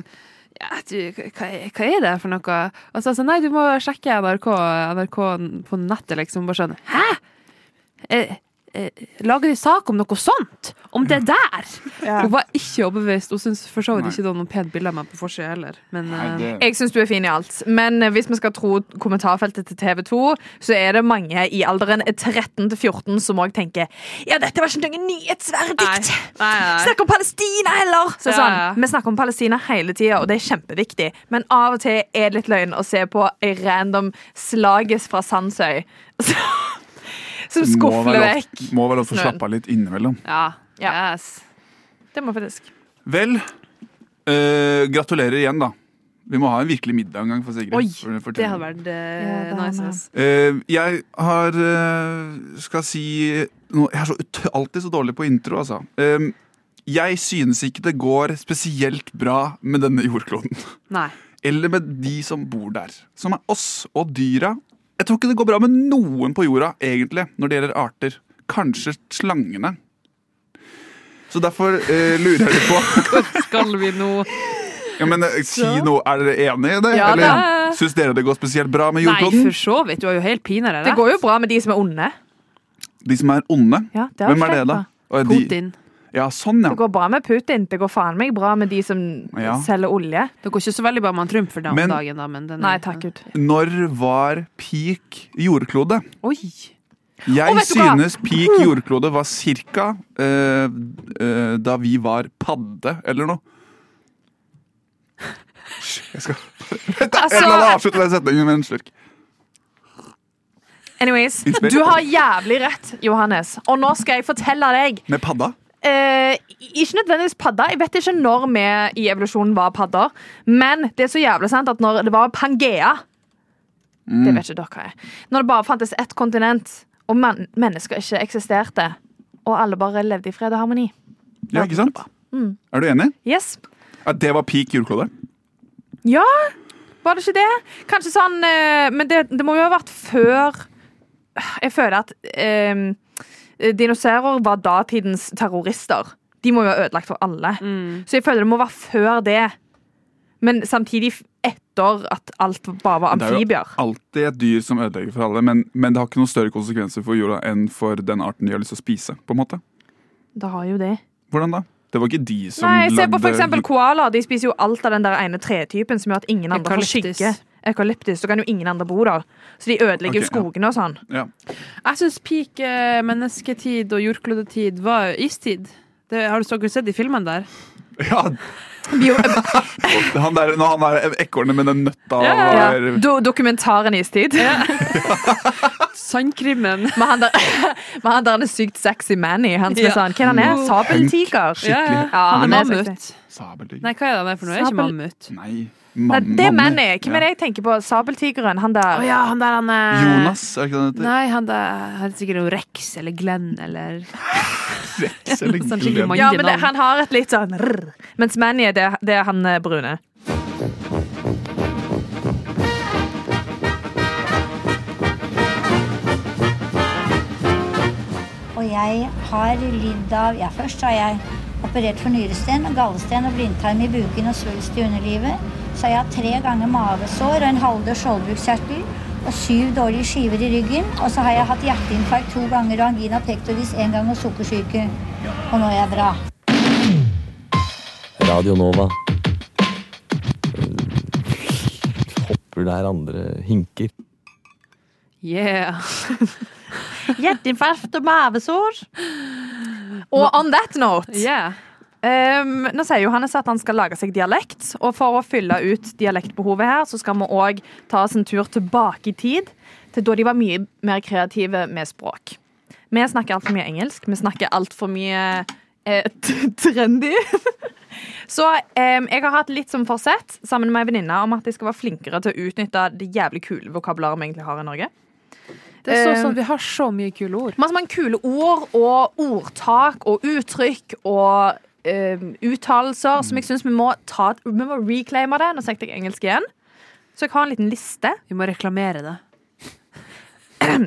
Speaker 5: ja, du, hva, hva er det for noe? Og så sa hun nei, du må sjekke NRK, NRK på nettet, liksom. Bare sånn Hæ? Eh, eh, lager de sak om noe sånt? Om det der? Hun var ikke overbevist. Hun syntes for så vidt
Speaker 7: Nei.
Speaker 5: ikke det var noe pent bilde av meg på forsida heller. Men eh,
Speaker 7: Jeg syns du er fin i alt, men eh, hvis vi skal tro kommentarfeltet til TV 2, så er det mange i alderen 13 til 14 som òg tenker Ja, dette var ikke noe nyhetsverdig! Snakk om Palestina heller! Så
Speaker 5: Ja,
Speaker 7: sånn,
Speaker 5: ja.
Speaker 7: Vi snakker om Palestina hele tida, og det er kjempeviktig. Men av og til er det litt løgn å se på ei random slages fra Sandsøy som
Speaker 6: Må
Speaker 7: skufler
Speaker 6: være lov-
Speaker 7: vekk.
Speaker 6: Må være lov til å
Speaker 7: snøen.
Speaker 6: slappe av litt innimellom.
Speaker 5: Ja.
Speaker 7: Det må faktisk.
Speaker 6: Vel, eh, gratulerer igjen, da. Vi må ha en virkelig middag en gang for Sigrid.
Speaker 5: Oi!
Speaker 6: for- for
Speaker 5: Det
Speaker 6: tiden.
Speaker 5: hadde vært eh, nice. ass.
Speaker 6: Eh, jeg har eh, skal si noe, Jeg er så ut, alltid så dårlig på intro, altså. Eh, jeg synes ikke det går spesielt bra med denne jordkloden.
Speaker 5: Nei.
Speaker 6: Eller med de som bor der. Som er oss og dyra. Jeg tror ikke det går bra med noen på jorda, egentlig, når det gjelder arter. Kanskje slangene. Så derfor eh, lurer jeg litt på
Speaker 5: Skal vi nå
Speaker 6: ja, men, eh, Si noe. Er dere enige i det?
Speaker 7: Ja, da.
Speaker 6: Eller syns dere det går spesielt bra med
Speaker 5: Nei,
Speaker 6: jordkloden?
Speaker 5: for så vidt. Du har jo helt pinadø
Speaker 7: Det går jo bra med de som er onde.
Speaker 6: De som er onde?
Speaker 7: Ja, det har
Speaker 6: Hvem er
Speaker 7: skjedd,
Speaker 6: det, da?
Speaker 7: da.
Speaker 6: Og er de- Ja, sånn, ja.
Speaker 7: Det går bra med Putin. Det går faen meg bra med de som
Speaker 6: Ja.
Speaker 7: selger olje.
Speaker 5: Det går ikke så veldig bra med Trump for
Speaker 6: Men-
Speaker 5: dagen, da, men den
Speaker 7: Nei, takk Gud.
Speaker 6: Når var peak jordklode?
Speaker 5: Oi!
Speaker 6: Jeg
Speaker 7: Å, vet du hva? Hmm.
Speaker 6: synes peak jordklode var cirka eh, eh, da vi var padde, eller noe. Jeg skal Vent, da! Jeg
Speaker 7: Altså-
Speaker 6: la meg avslutte den setningen med en slurk.
Speaker 7: Anyways,
Speaker 6: Inspirer.
Speaker 7: du har jævlig rett, Johannes. Og nå skal jeg fortelle deg
Speaker 6: Med padda?
Speaker 7: eh, Ikke nødvendigvis padda. Jeg vet ikke når vi i evolusjonen var padder. Men det er så jævlig sant at når det var Pangea Det vet ikke dere hva er. Når det bare fantes ett kontinent, og men mennesker ikke eksisterte, og alle bare levde i fred og harmoni.
Speaker 6: Ja, ikke sant?
Speaker 7: Mm.
Speaker 6: Er du enig?
Speaker 7: Yes.
Speaker 6: At det var peak jordklode?
Speaker 7: Ja, var det ikke det? Kanskje sånn eh, Men det, det må jo ha vært før Jeg føler at eh, dinosaurer var datidens terrorister. De må jo ha ødelagt for alle. Så jeg føler det må være før det. Men samtidig f- etter at alt bare var
Speaker 6: Det er
Speaker 7: amfibier.
Speaker 6: jo alltid et dyr som ødelegger for alle, men, men det har ikke noen større konsekvenser for jorda enn for den arten de har lyst til å spise. på en måte.
Speaker 7: Det har jo det.
Speaker 6: Hvordan da? Det var ikke de som
Speaker 7: Nei, se på for
Speaker 6: lagde-
Speaker 7: eksempel koalaer. De spiser jo alt av den der ene tretypen som gjør at ingen andre får
Speaker 5: Eukalyptus.
Speaker 7: skygge. Eukalyptus. Så kan jo ingen andre bo der. Så de ødelegger jo
Speaker 6: Ok, ja.
Speaker 7: skogene og sånn.
Speaker 6: Ja.
Speaker 5: Jeg syns peak eh, mennesketid og jordklodetid var istid. Det, har du dere sett de filmene der?
Speaker 6: Ja. han der, når han der ekornet med den nøtta og
Speaker 7: Ja.
Speaker 6: var-
Speaker 7: Do dokumentaren Istid.
Speaker 5: Sandkrimmen.
Speaker 7: Men han der, men han der er sykt sexy man i. Han som
Speaker 5: Ja.
Speaker 7: er sånn, Hvem han er?
Speaker 5: Mm.
Speaker 7: Sabeltiger?
Speaker 5: Skikkelig. Ja, ja.
Speaker 7: Ja,
Speaker 5: Han
Speaker 7: han
Speaker 5: er
Speaker 7: er
Speaker 5: mammut.
Speaker 7: sexy.
Speaker 6: Sabeltiger.
Speaker 5: Nei, hva er det han er for noe? Er ikke
Speaker 7: Sabel-
Speaker 5: mammut?
Speaker 6: Nei,
Speaker 7: Nei,
Speaker 6: mam-
Speaker 7: det er
Speaker 6: mammut.
Speaker 7: man er. Hvem
Speaker 6: Ja.
Speaker 7: er det jeg tenker på? Sabeltigeren? Han der.
Speaker 5: Å ja, han der han er
Speaker 6: Jonas, er ikke det eh, han heter?
Speaker 5: Nei, han der han er sikkert noe Rex eller Glenn eller
Speaker 6: Rex eller
Speaker 5: Sånn
Speaker 6: Glenn.
Speaker 5: skikkelig mange
Speaker 7: Ja, men det,
Speaker 5: navn.
Speaker 7: han har et litt sånn rrr. Mens Manny, det, det er han eh, brune.
Speaker 12: Og jeg har lidd av Ja, først har jeg operert for nyresten, gallesten og blindtarm i buken og svulst i underlivet. Så har jeg hatt tre ganger mavesår og en halvdød skjoldbruskkjertel. og syv dårlige skiver i ryggen. Og så har jeg hatt hjerteinfarkt to ganger og angina pectoris én gang og sukkersyke. Og nå er jeg bra.
Speaker 13: Radio Nova. Hopper der andre hinker.
Speaker 14: Yeah.
Speaker 7: Hjerteinfarkt og mavesår. Og on that note um, Nå sier Johannes at han skal lage seg dialekt. Og for å fylle ut dialektbehovet her, så skal vi òg ta oss en tur tilbake i tid. Til da de var mye mer kreative med språk. Vi snakker altfor mye engelsk. Vi snakker altfor mye eh, t- trendy. Så em, jeg har hatt litt som forsett sammen med ei venninne om at jeg skal være flinkere til å utnytte det jævlig kule vokabularet vi egentlig har i Norge.
Speaker 14: Det er så,
Speaker 7: Eh,
Speaker 14: sånn, vi har så mye kule ord.
Speaker 7: Masse mange kule ord og ordtak og uttrykk og eh, uttalelser som
Speaker 6: Mm.
Speaker 7: jeg syns vi må ta Vi må reclaime det. Nå snakket jeg engelsk igjen. Så jeg har en liten liste.
Speaker 14: Vi må reklamere det.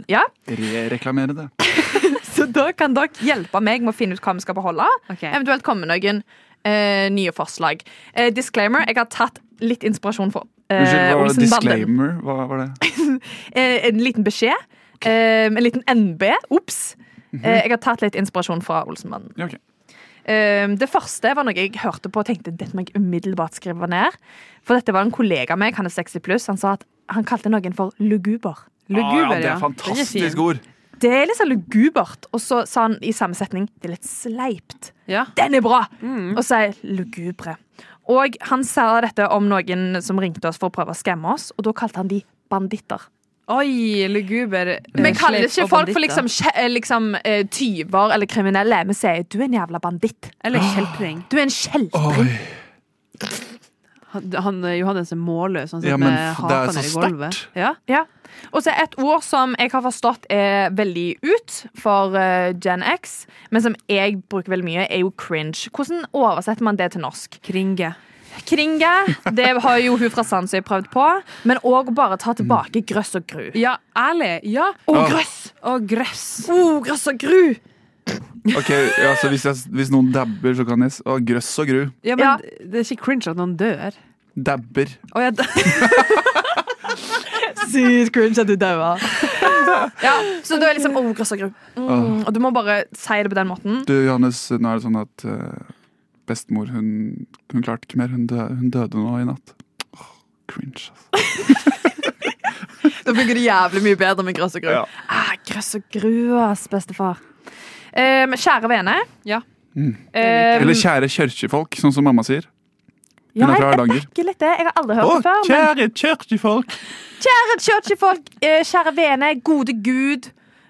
Speaker 7: ja.
Speaker 6: Re-reklamere det.
Speaker 7: Så da kan dere hjelpe meg med å finne ut hva vi skal beholde. Eventuelt komme med noen eh, nye forslag. Eh, disclaimer, jeg har tatt litt inspirasjon fra eh,
Speaker 6: Unnskyld, hva var
Speaker 7: Olsenbanden.
Speaker 6: disclaimer? Hva var det?
Speaker 7: Eh, en liten beskjed. Eh, en liten NB. Ops.
Speaker 6: Mhm.
Speaker 7: Eh, jeg har tatt litt inspirasjon fra Olsenbanden. Eh, det første var noe jeg hørte på og tenkte dette må jeg umiddelbart skrive ned. For dette var en kollega av meg, han er 60 pluss, han sa at han kalte noen for luguber.
Speaker 6: ah, ja, det er fantastisk ord.
Speaker 7: Det er litt sånn lugubert. Og så sa han i samme setning det er litt sleipt. Den er bra! Og så er lugubre. Og han sa dette om noen som ringte oss for å prøve å skamme oss, og da kalte han de banditter.
Speaker 14: Oi, luguber. eh,
Speaker 7: Vi kaller
Speaker 14: sleip
Speaker 7: ikke
Speaker 14: og
Speaker 7: folk for
Speaker 14: banditter.
Speaker 7: liksom, skje- eh, liksom eh, tyver eller kriminelle. Vi sier 'du er en jævla banditt'.
Speaker 14: Eller kjeltring.
Speaker 7: Du er en kjeltring.
Speaker 14: Han, han, eh, Johannes er målløs. Han sitter
Speaker 7: Ja, men
Speaker 14: med
Speaker 7: f- det er
Speaker 14: haka ned i
Speaker 7: så
Speaker 14: gulvet. Ja.
Speaker 7: Ja. Og så et ord som jeg har forstått er veldig ut for eh, Gen X, men som jeg bruker veldig mye, er jo cringe. Hvordan oversetter man det til norsk?
Speaker 14: Kringe.
Speaker 7: Kringe. Det har jo hun fra Sandsøy prøvd på. Men òg bare ta tilbake grøss og gru.
Speaker 14: Ja, ærlig. Ja.
Speaker 7: Og
Speaker 6: Ja.
Speaker 7: grøss!
Speaker 14: Og gress.
Speaker 7: Oh, grøss og gru!
Speaker 6: Ok, ja, så hvis, jeg, hvis noen dabber, så kan jeg s- Å, grøss og gru.
Speaker 14: Ja, men det er ikke cringe at noen dør.
Speaker 6: Dabber.
Speaker 14: Å, ja,
Speaker 7: Sykt cringe at du dauer. Ja, så da er liksom oh, grøss og gru. Mm, og du må bare si det på den måten.
Speaker 6: Du, Johannes, nå er det sånn at eh, bestemor, hun, hun klarte ikke mer. Hun, dø, hun døde nå i natt. Åh, cringe, altså.
Speaker 7: Da funker det jævlig mye bedre med grøss og gru.
Speaker 6: Ja.
Speaker 7: Ah, grøss og gru, ass, bestefar. Um, kjære vene.
Speaker 6: Mm.
Speaker 7: Eh,
Speaker 6: Eller kjære kjørkjefolk, sånn som mamma sier. Hun
Speaker 7: Ja,
Speaker 6: er fra
Speaker 7: jeg-
Speaker 6: Hardanger.
Speaker 7: Ikke litt det. Jeg har aldri hørt
Speaker 6: Å,
Speaker 7: det før. Men
Speaker 6: kjære kjørkjefolk!
Speaker 7: kjære churchy-folk, eh, kjære vene, gode gud.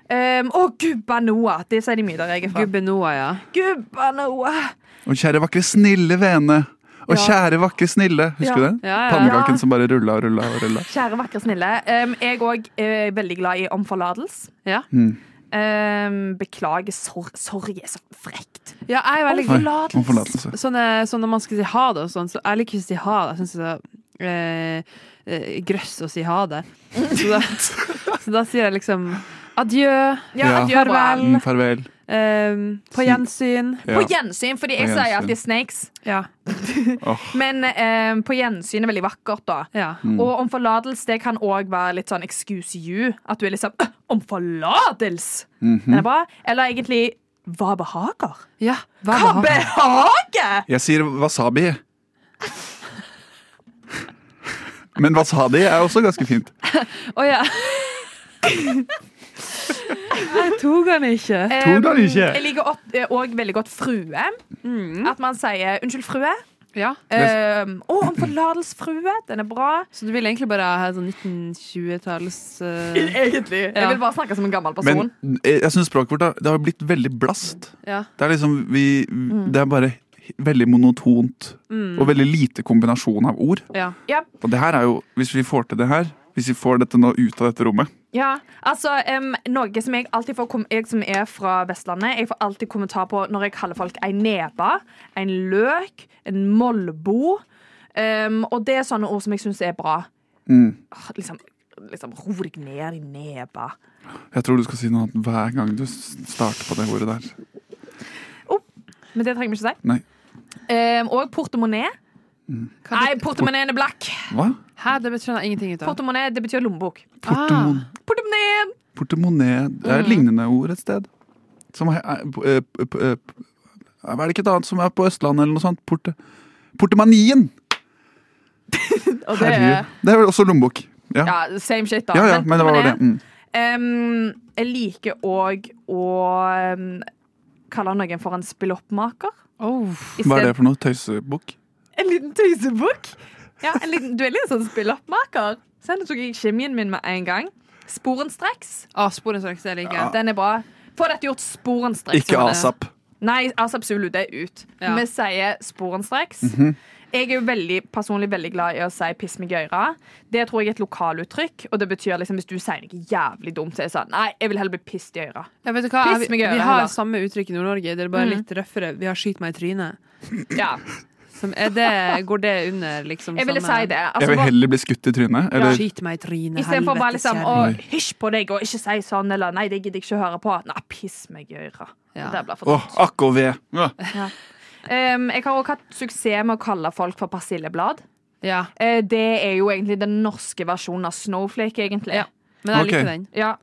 Speaker 7: Um, og gubba Noah. Det sier de mye der jeg er fra.
Speaker 14: Gubbe Noah, ja.
Speaker 7: Gubba Noah.
Speaker 6: Og kjære vakre, snille vene. Og
Speaker 7: Ja.
Speaker 6: kjære vakre, snille. Husker
Speaker 7: Ja.
Speaker 6: du den?
Speaker 7: Ja, ja. Ja.
Speaker 6: Pannekaken som bare rulla og rulla og rulla.
Speaker 7: Kjære, vakre, snille. Um, jeg òg er veldig glad i om forlatelse.
Speaker 6: Mm.
Speaker 7: Um, beklager. Sorg, sorg er så frekt.
Speaker 14: Ja, jeg er veldig
Speaker 6: Om forlatelse. Nei, om forlatelse.
Speaker 14: Sånn, eh, sånn når man skal si ha det og sånn, så jeg liker ikke å si ha det. Jeg syns det er eh, eh, grøss å si ha det. Så da, så da sier jeg liksom adjø,
Speaker 6: Ja.
Speaker 14: farvel,
Speaker 6: Mm, farvel.
Speaker 14: eh, på gjensyn.
Speaker 6: Ja.
Speaker 7: På gjensyn, fordi jeg
Speaker 6: På
Speaker 7: sier
Speaker 6: gjensyn.
Speaker 7: alltid snakes.
Speaker 6: Åh.
Speaker 7: Men eh, på gjensyn er veldig vakkert, da.
Speaker 6: Mm.
Speaker 7: Og om forlatelse det kan òg være litt sånn excuse you. At du er liksom «Øh, om forlatelse!
Speaker 6: Mhm.
Speaker 7: Er det bra? Eller egentlig hva behager?
Speaker 14: Ja,
Speaker 7: hva behager?
Speaker 6: Jeg sier wasabi. Men wasabi er også ganske fint.
Speaker 14: Å ja. Jeg tok den ikke.
Speaker 6: Tok den ikke?
Speaker 7: Eh,
Speaker 6: Mm.
Speaker 7: Jeg liker òg veldig godt frue. At man sier 'unnskyld, frue'.
Speaker 14: Ja.
Speaker 7: Eh, å, om forlatelse, frue. Den er bra.
Speaker 14: Så du vil egentlig bare ha sånn 1920-talls eh,
Speaker 7: Egentlig. Jeg
Speaker 14: Ja.
Speaker 7: vil bare snakke som en gammel person.
Speaker 6: Men eh, jeg jeg syns språket vårt har- det har blitt veldig blast.
Speaker 14: Ja.
Speaker 6: Det er liksom vi Det er bare veldig monotont
Speaker 7: Mm.
Speaker 6: og veldig lite kombinasjon av ord.
Speaker 14: Ja.
Speaker 7: Ja.
Speaker 6: Og det her er jo Hvis vi får til det her, hvis vi får dette nå ut av dette rommet
Speaker 7: Ja, altså em, Noe som jeg alltid får kom Jeg som er fra Vestlandet, jeg får alltid kommentar på når jeg kaller folk ei neve, en løk, en molbo. Em, og det er sånne ord som jeg syns er bra.
Speaker 6: Mm.
Speaker 7: Åh, Liksom, liksom ro deg ned i neva.
Speaker 6: Jeg tror du skal si noe annet hver gang du s- starter på det ordet der.
Speaker 7: Men det trenger vi ikke si.
Speaker 6: Nei.
Speaker 7: Em, og portemonnaie.
Speaker 6: Mm.
Speaker 7: Nei, portemonnaie er black.
Speaker 6: Hva?
Speaker 5: Hæ, det skjønner jeg ingenting ut av.
Speaker 7: Portemonnaie, det betyr lommebok.
Speaker 6: Portemon
Speaker 7: Portemonnaie!
Speaker 6: Portemonnaie Det er et
Speaker 7: Mm.
Speaker 6: lignende ord et sted. Som er, er, p- eh, p- p- p- er det ikke et annet som er på Østlandet eller noe sånt? Porte, portemanien!
Speaker 7: Og det er
Speaker 6: Herregud. Det er vel også lommebok. Ja.
Speaker 7: ja, same shit, da.
Speaker 6: ja, ja, men det var
Speaker 7: portemonnaie-
Speaker 6: det. Mm.
Speaker 7: Ehm, jeg liker òg å ehm, kalle noen for en spilloppmaker. I
Speaker 6: Hva er det
Speaker 7: sted-
Speaker 6: for noe? Tøysebok?
Speaker 7: En liten tøysebukk. Ja, en liten, du er litt sånn spilloppmaker. Så nå tok jeg kjemien min med en gang. Sporenstreks.
Speaker 5: Ah, sporenstreks, det liker jeg.
Speaker 7: Ja. Den er bra. Få dette gjort sporenstreks.
Speaker 6: Ikke
Speaker 7: Johanne.
Speaker 6: asap.
Speaker 7: Nei, asap Zulu, det er ut. Vi sier sporenstreks.
Speaker 6: Mhm.
Speaker 7: Jeg er jo veldig, personlig veldig glad i å si 'piss meg i øra'. Det tror jeg er et lokaluttrykk. Og det betyr liksom Hvis du sier noe jævlig dumt, så er det sånn Nei, jeg vil heller bli pissed i øra.
Speaker 5: Ja, vet du hva? Vi,
Speaker 7: Piss meg i
Speaker 5: vi
Speaker 7: øret,
Speaker 5: har
Speaker 7: heller.
Speaker 5: samme uttrykk i Nord-Norge, det er bare
Speaker 7: Mm.
Speaker 5: litt røffere. Vi har 'skyt meg i trynet'.
Speaker 7: Ja.
Speaker 5: Som er det, går det under liksom
Speaker 7: Jeg ville
Speaker 5: samme-
Speaker 7: si det. Altså,
Speaker 6: Jeg vil heller bli skutt i trynet.
Speaker 5: Ja.
Speaker 6: Eller
Speaker 5: Skyt meg i trynet,
Speaker 7: Istedenfor bare
Speaker 5: helvetes
Speaker 7: liksom å
Speaker 5: kjerring.
Speaker 7: hysj på deg og ikke si sånn, eller nei, det gidder jeg ikke å høre på. Nei, piss meg i øra. Det der blir for
Speaker 6: Åh, ah. akk og ved. Ja.
Speaker 7: Ja. Em, jeg har også hatt suksess med å kalle folk for persilleblad.
Speaker 5: Ja.
Speaker 7: Eh, det er jo egentlig den norske versjonen av Snowflake, egentlig.
Speaker 5: Men jeg liker Ok. den.
Speaker 7: Ja.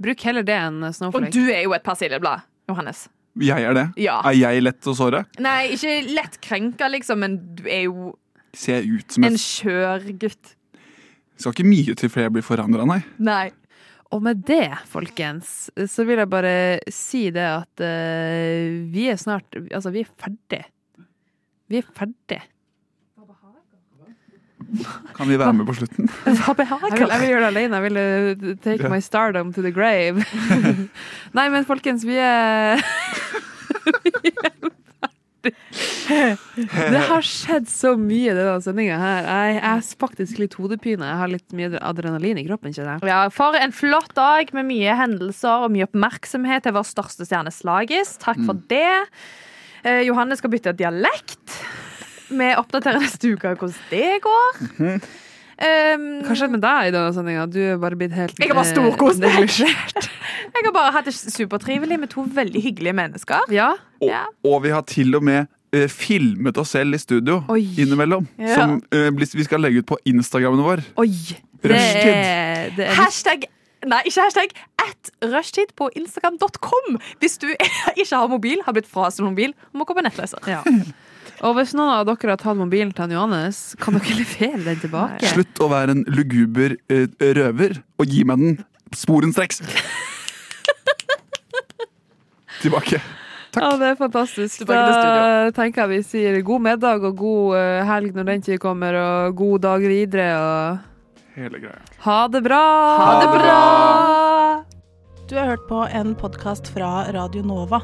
Speaker 5: Bruk heller det enn snowflake.
Speaker 7: Og du er jo et persilleblad, Johannes.
Speaker 6: Jeg er det?
Speaker 7: Ja.
Speaker 6: Er jeg lett å såre?
Speaker 7: Nei, ikke lett krenka, liksom, men du er jo
Speaker 6: Ser jeg ut som
Speaker 7: en
Speaker 6: en
Speaker 7: skjør gutt.
Speaker 6: Skal ikke mye til før jeg blir forandra, nei.
Speaker 7: Nei.
Speaker 5: Og med det, folkens, så vil jeg bare si det at eh, vi er snart Altså, vi er ferdig. Vi er ferdig.
Speaker 6: Kan vi være med på slutten?
Speaker 5: Hva behager? Jeg vil, jeg vil gjøre det alene. Jeg vil eh, take my stardom to the grave. Nei, men folkens, vi er Det har skjedd så mye i denne sendinga her. Jeg jeg har faktisk litt hodepine. Jeg har litt mye adrenalin i kroppen, kjenner jeg.
Speaker 7: Ja, For en flott dag med mye hendelser og mye oppmerksomhet til vår største stjerne Slagis. Takk
Speaker 5: Mm.
Speaker 7: for det. Eh, Johanne skal bytte dialekt. Vi oppdaterer neste uke hvordan det går.
Speaker 5: Mhm.
Speaker 7: Ehm,
Speaker 5: Hva skjedde med deg i denne sendinga? Du er bare blitt helt
Speaker 7: Jeg har bare
Speaker 5: eh,
Speaker 7: storkost meg.
Speaker 5: neglisjert.
Speaker 7: Jeg har bare hatt det supertrivelig med to veldig hyggelige mennesker.
Speaker 5: Ja.
Speaker 6: Og vi har til og med eh, filmet oss selv i studio innimellom.
Speaker 7: Ja.
Speaker 6: Som eh, blir- vi skal legge ut på Instagrammen vår.
Speaker 7: Det
Speaker 6: Rushtid.
Speaker 7: er, hashtag Nei, ikke hashtag. At rushtid på instagram.com hvis du ikke har mobil, har blitt frastjålet mobil, og må gå på nettleser.
Speaker 5: Og hvis noen av dere har tatt mobilen til han Johannes, kan dere levere den tilbake?
Speaker 6: Slutt å være en luguber eh, røver, og gi meg den sporenstreks! Tilbake.
Speaker 5: Ja, det er fantastisk.
Speaker 6: Tilbake til
Speaker 5: Da tenker jeg vi sier god middag og god eh, helg når den tid kommer, og god dag videre, og
Speaker 6: Hele greia.
Speaker 5: ha det bra!
Speaker 6: Ha det
Speaker 1: bra! Du har hørt på en podkast fra Radio Nova.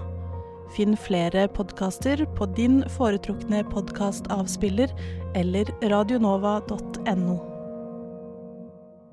Speaker 1: Finn flere podkaster på din foretrukne podkastavspiller eller radionova.no.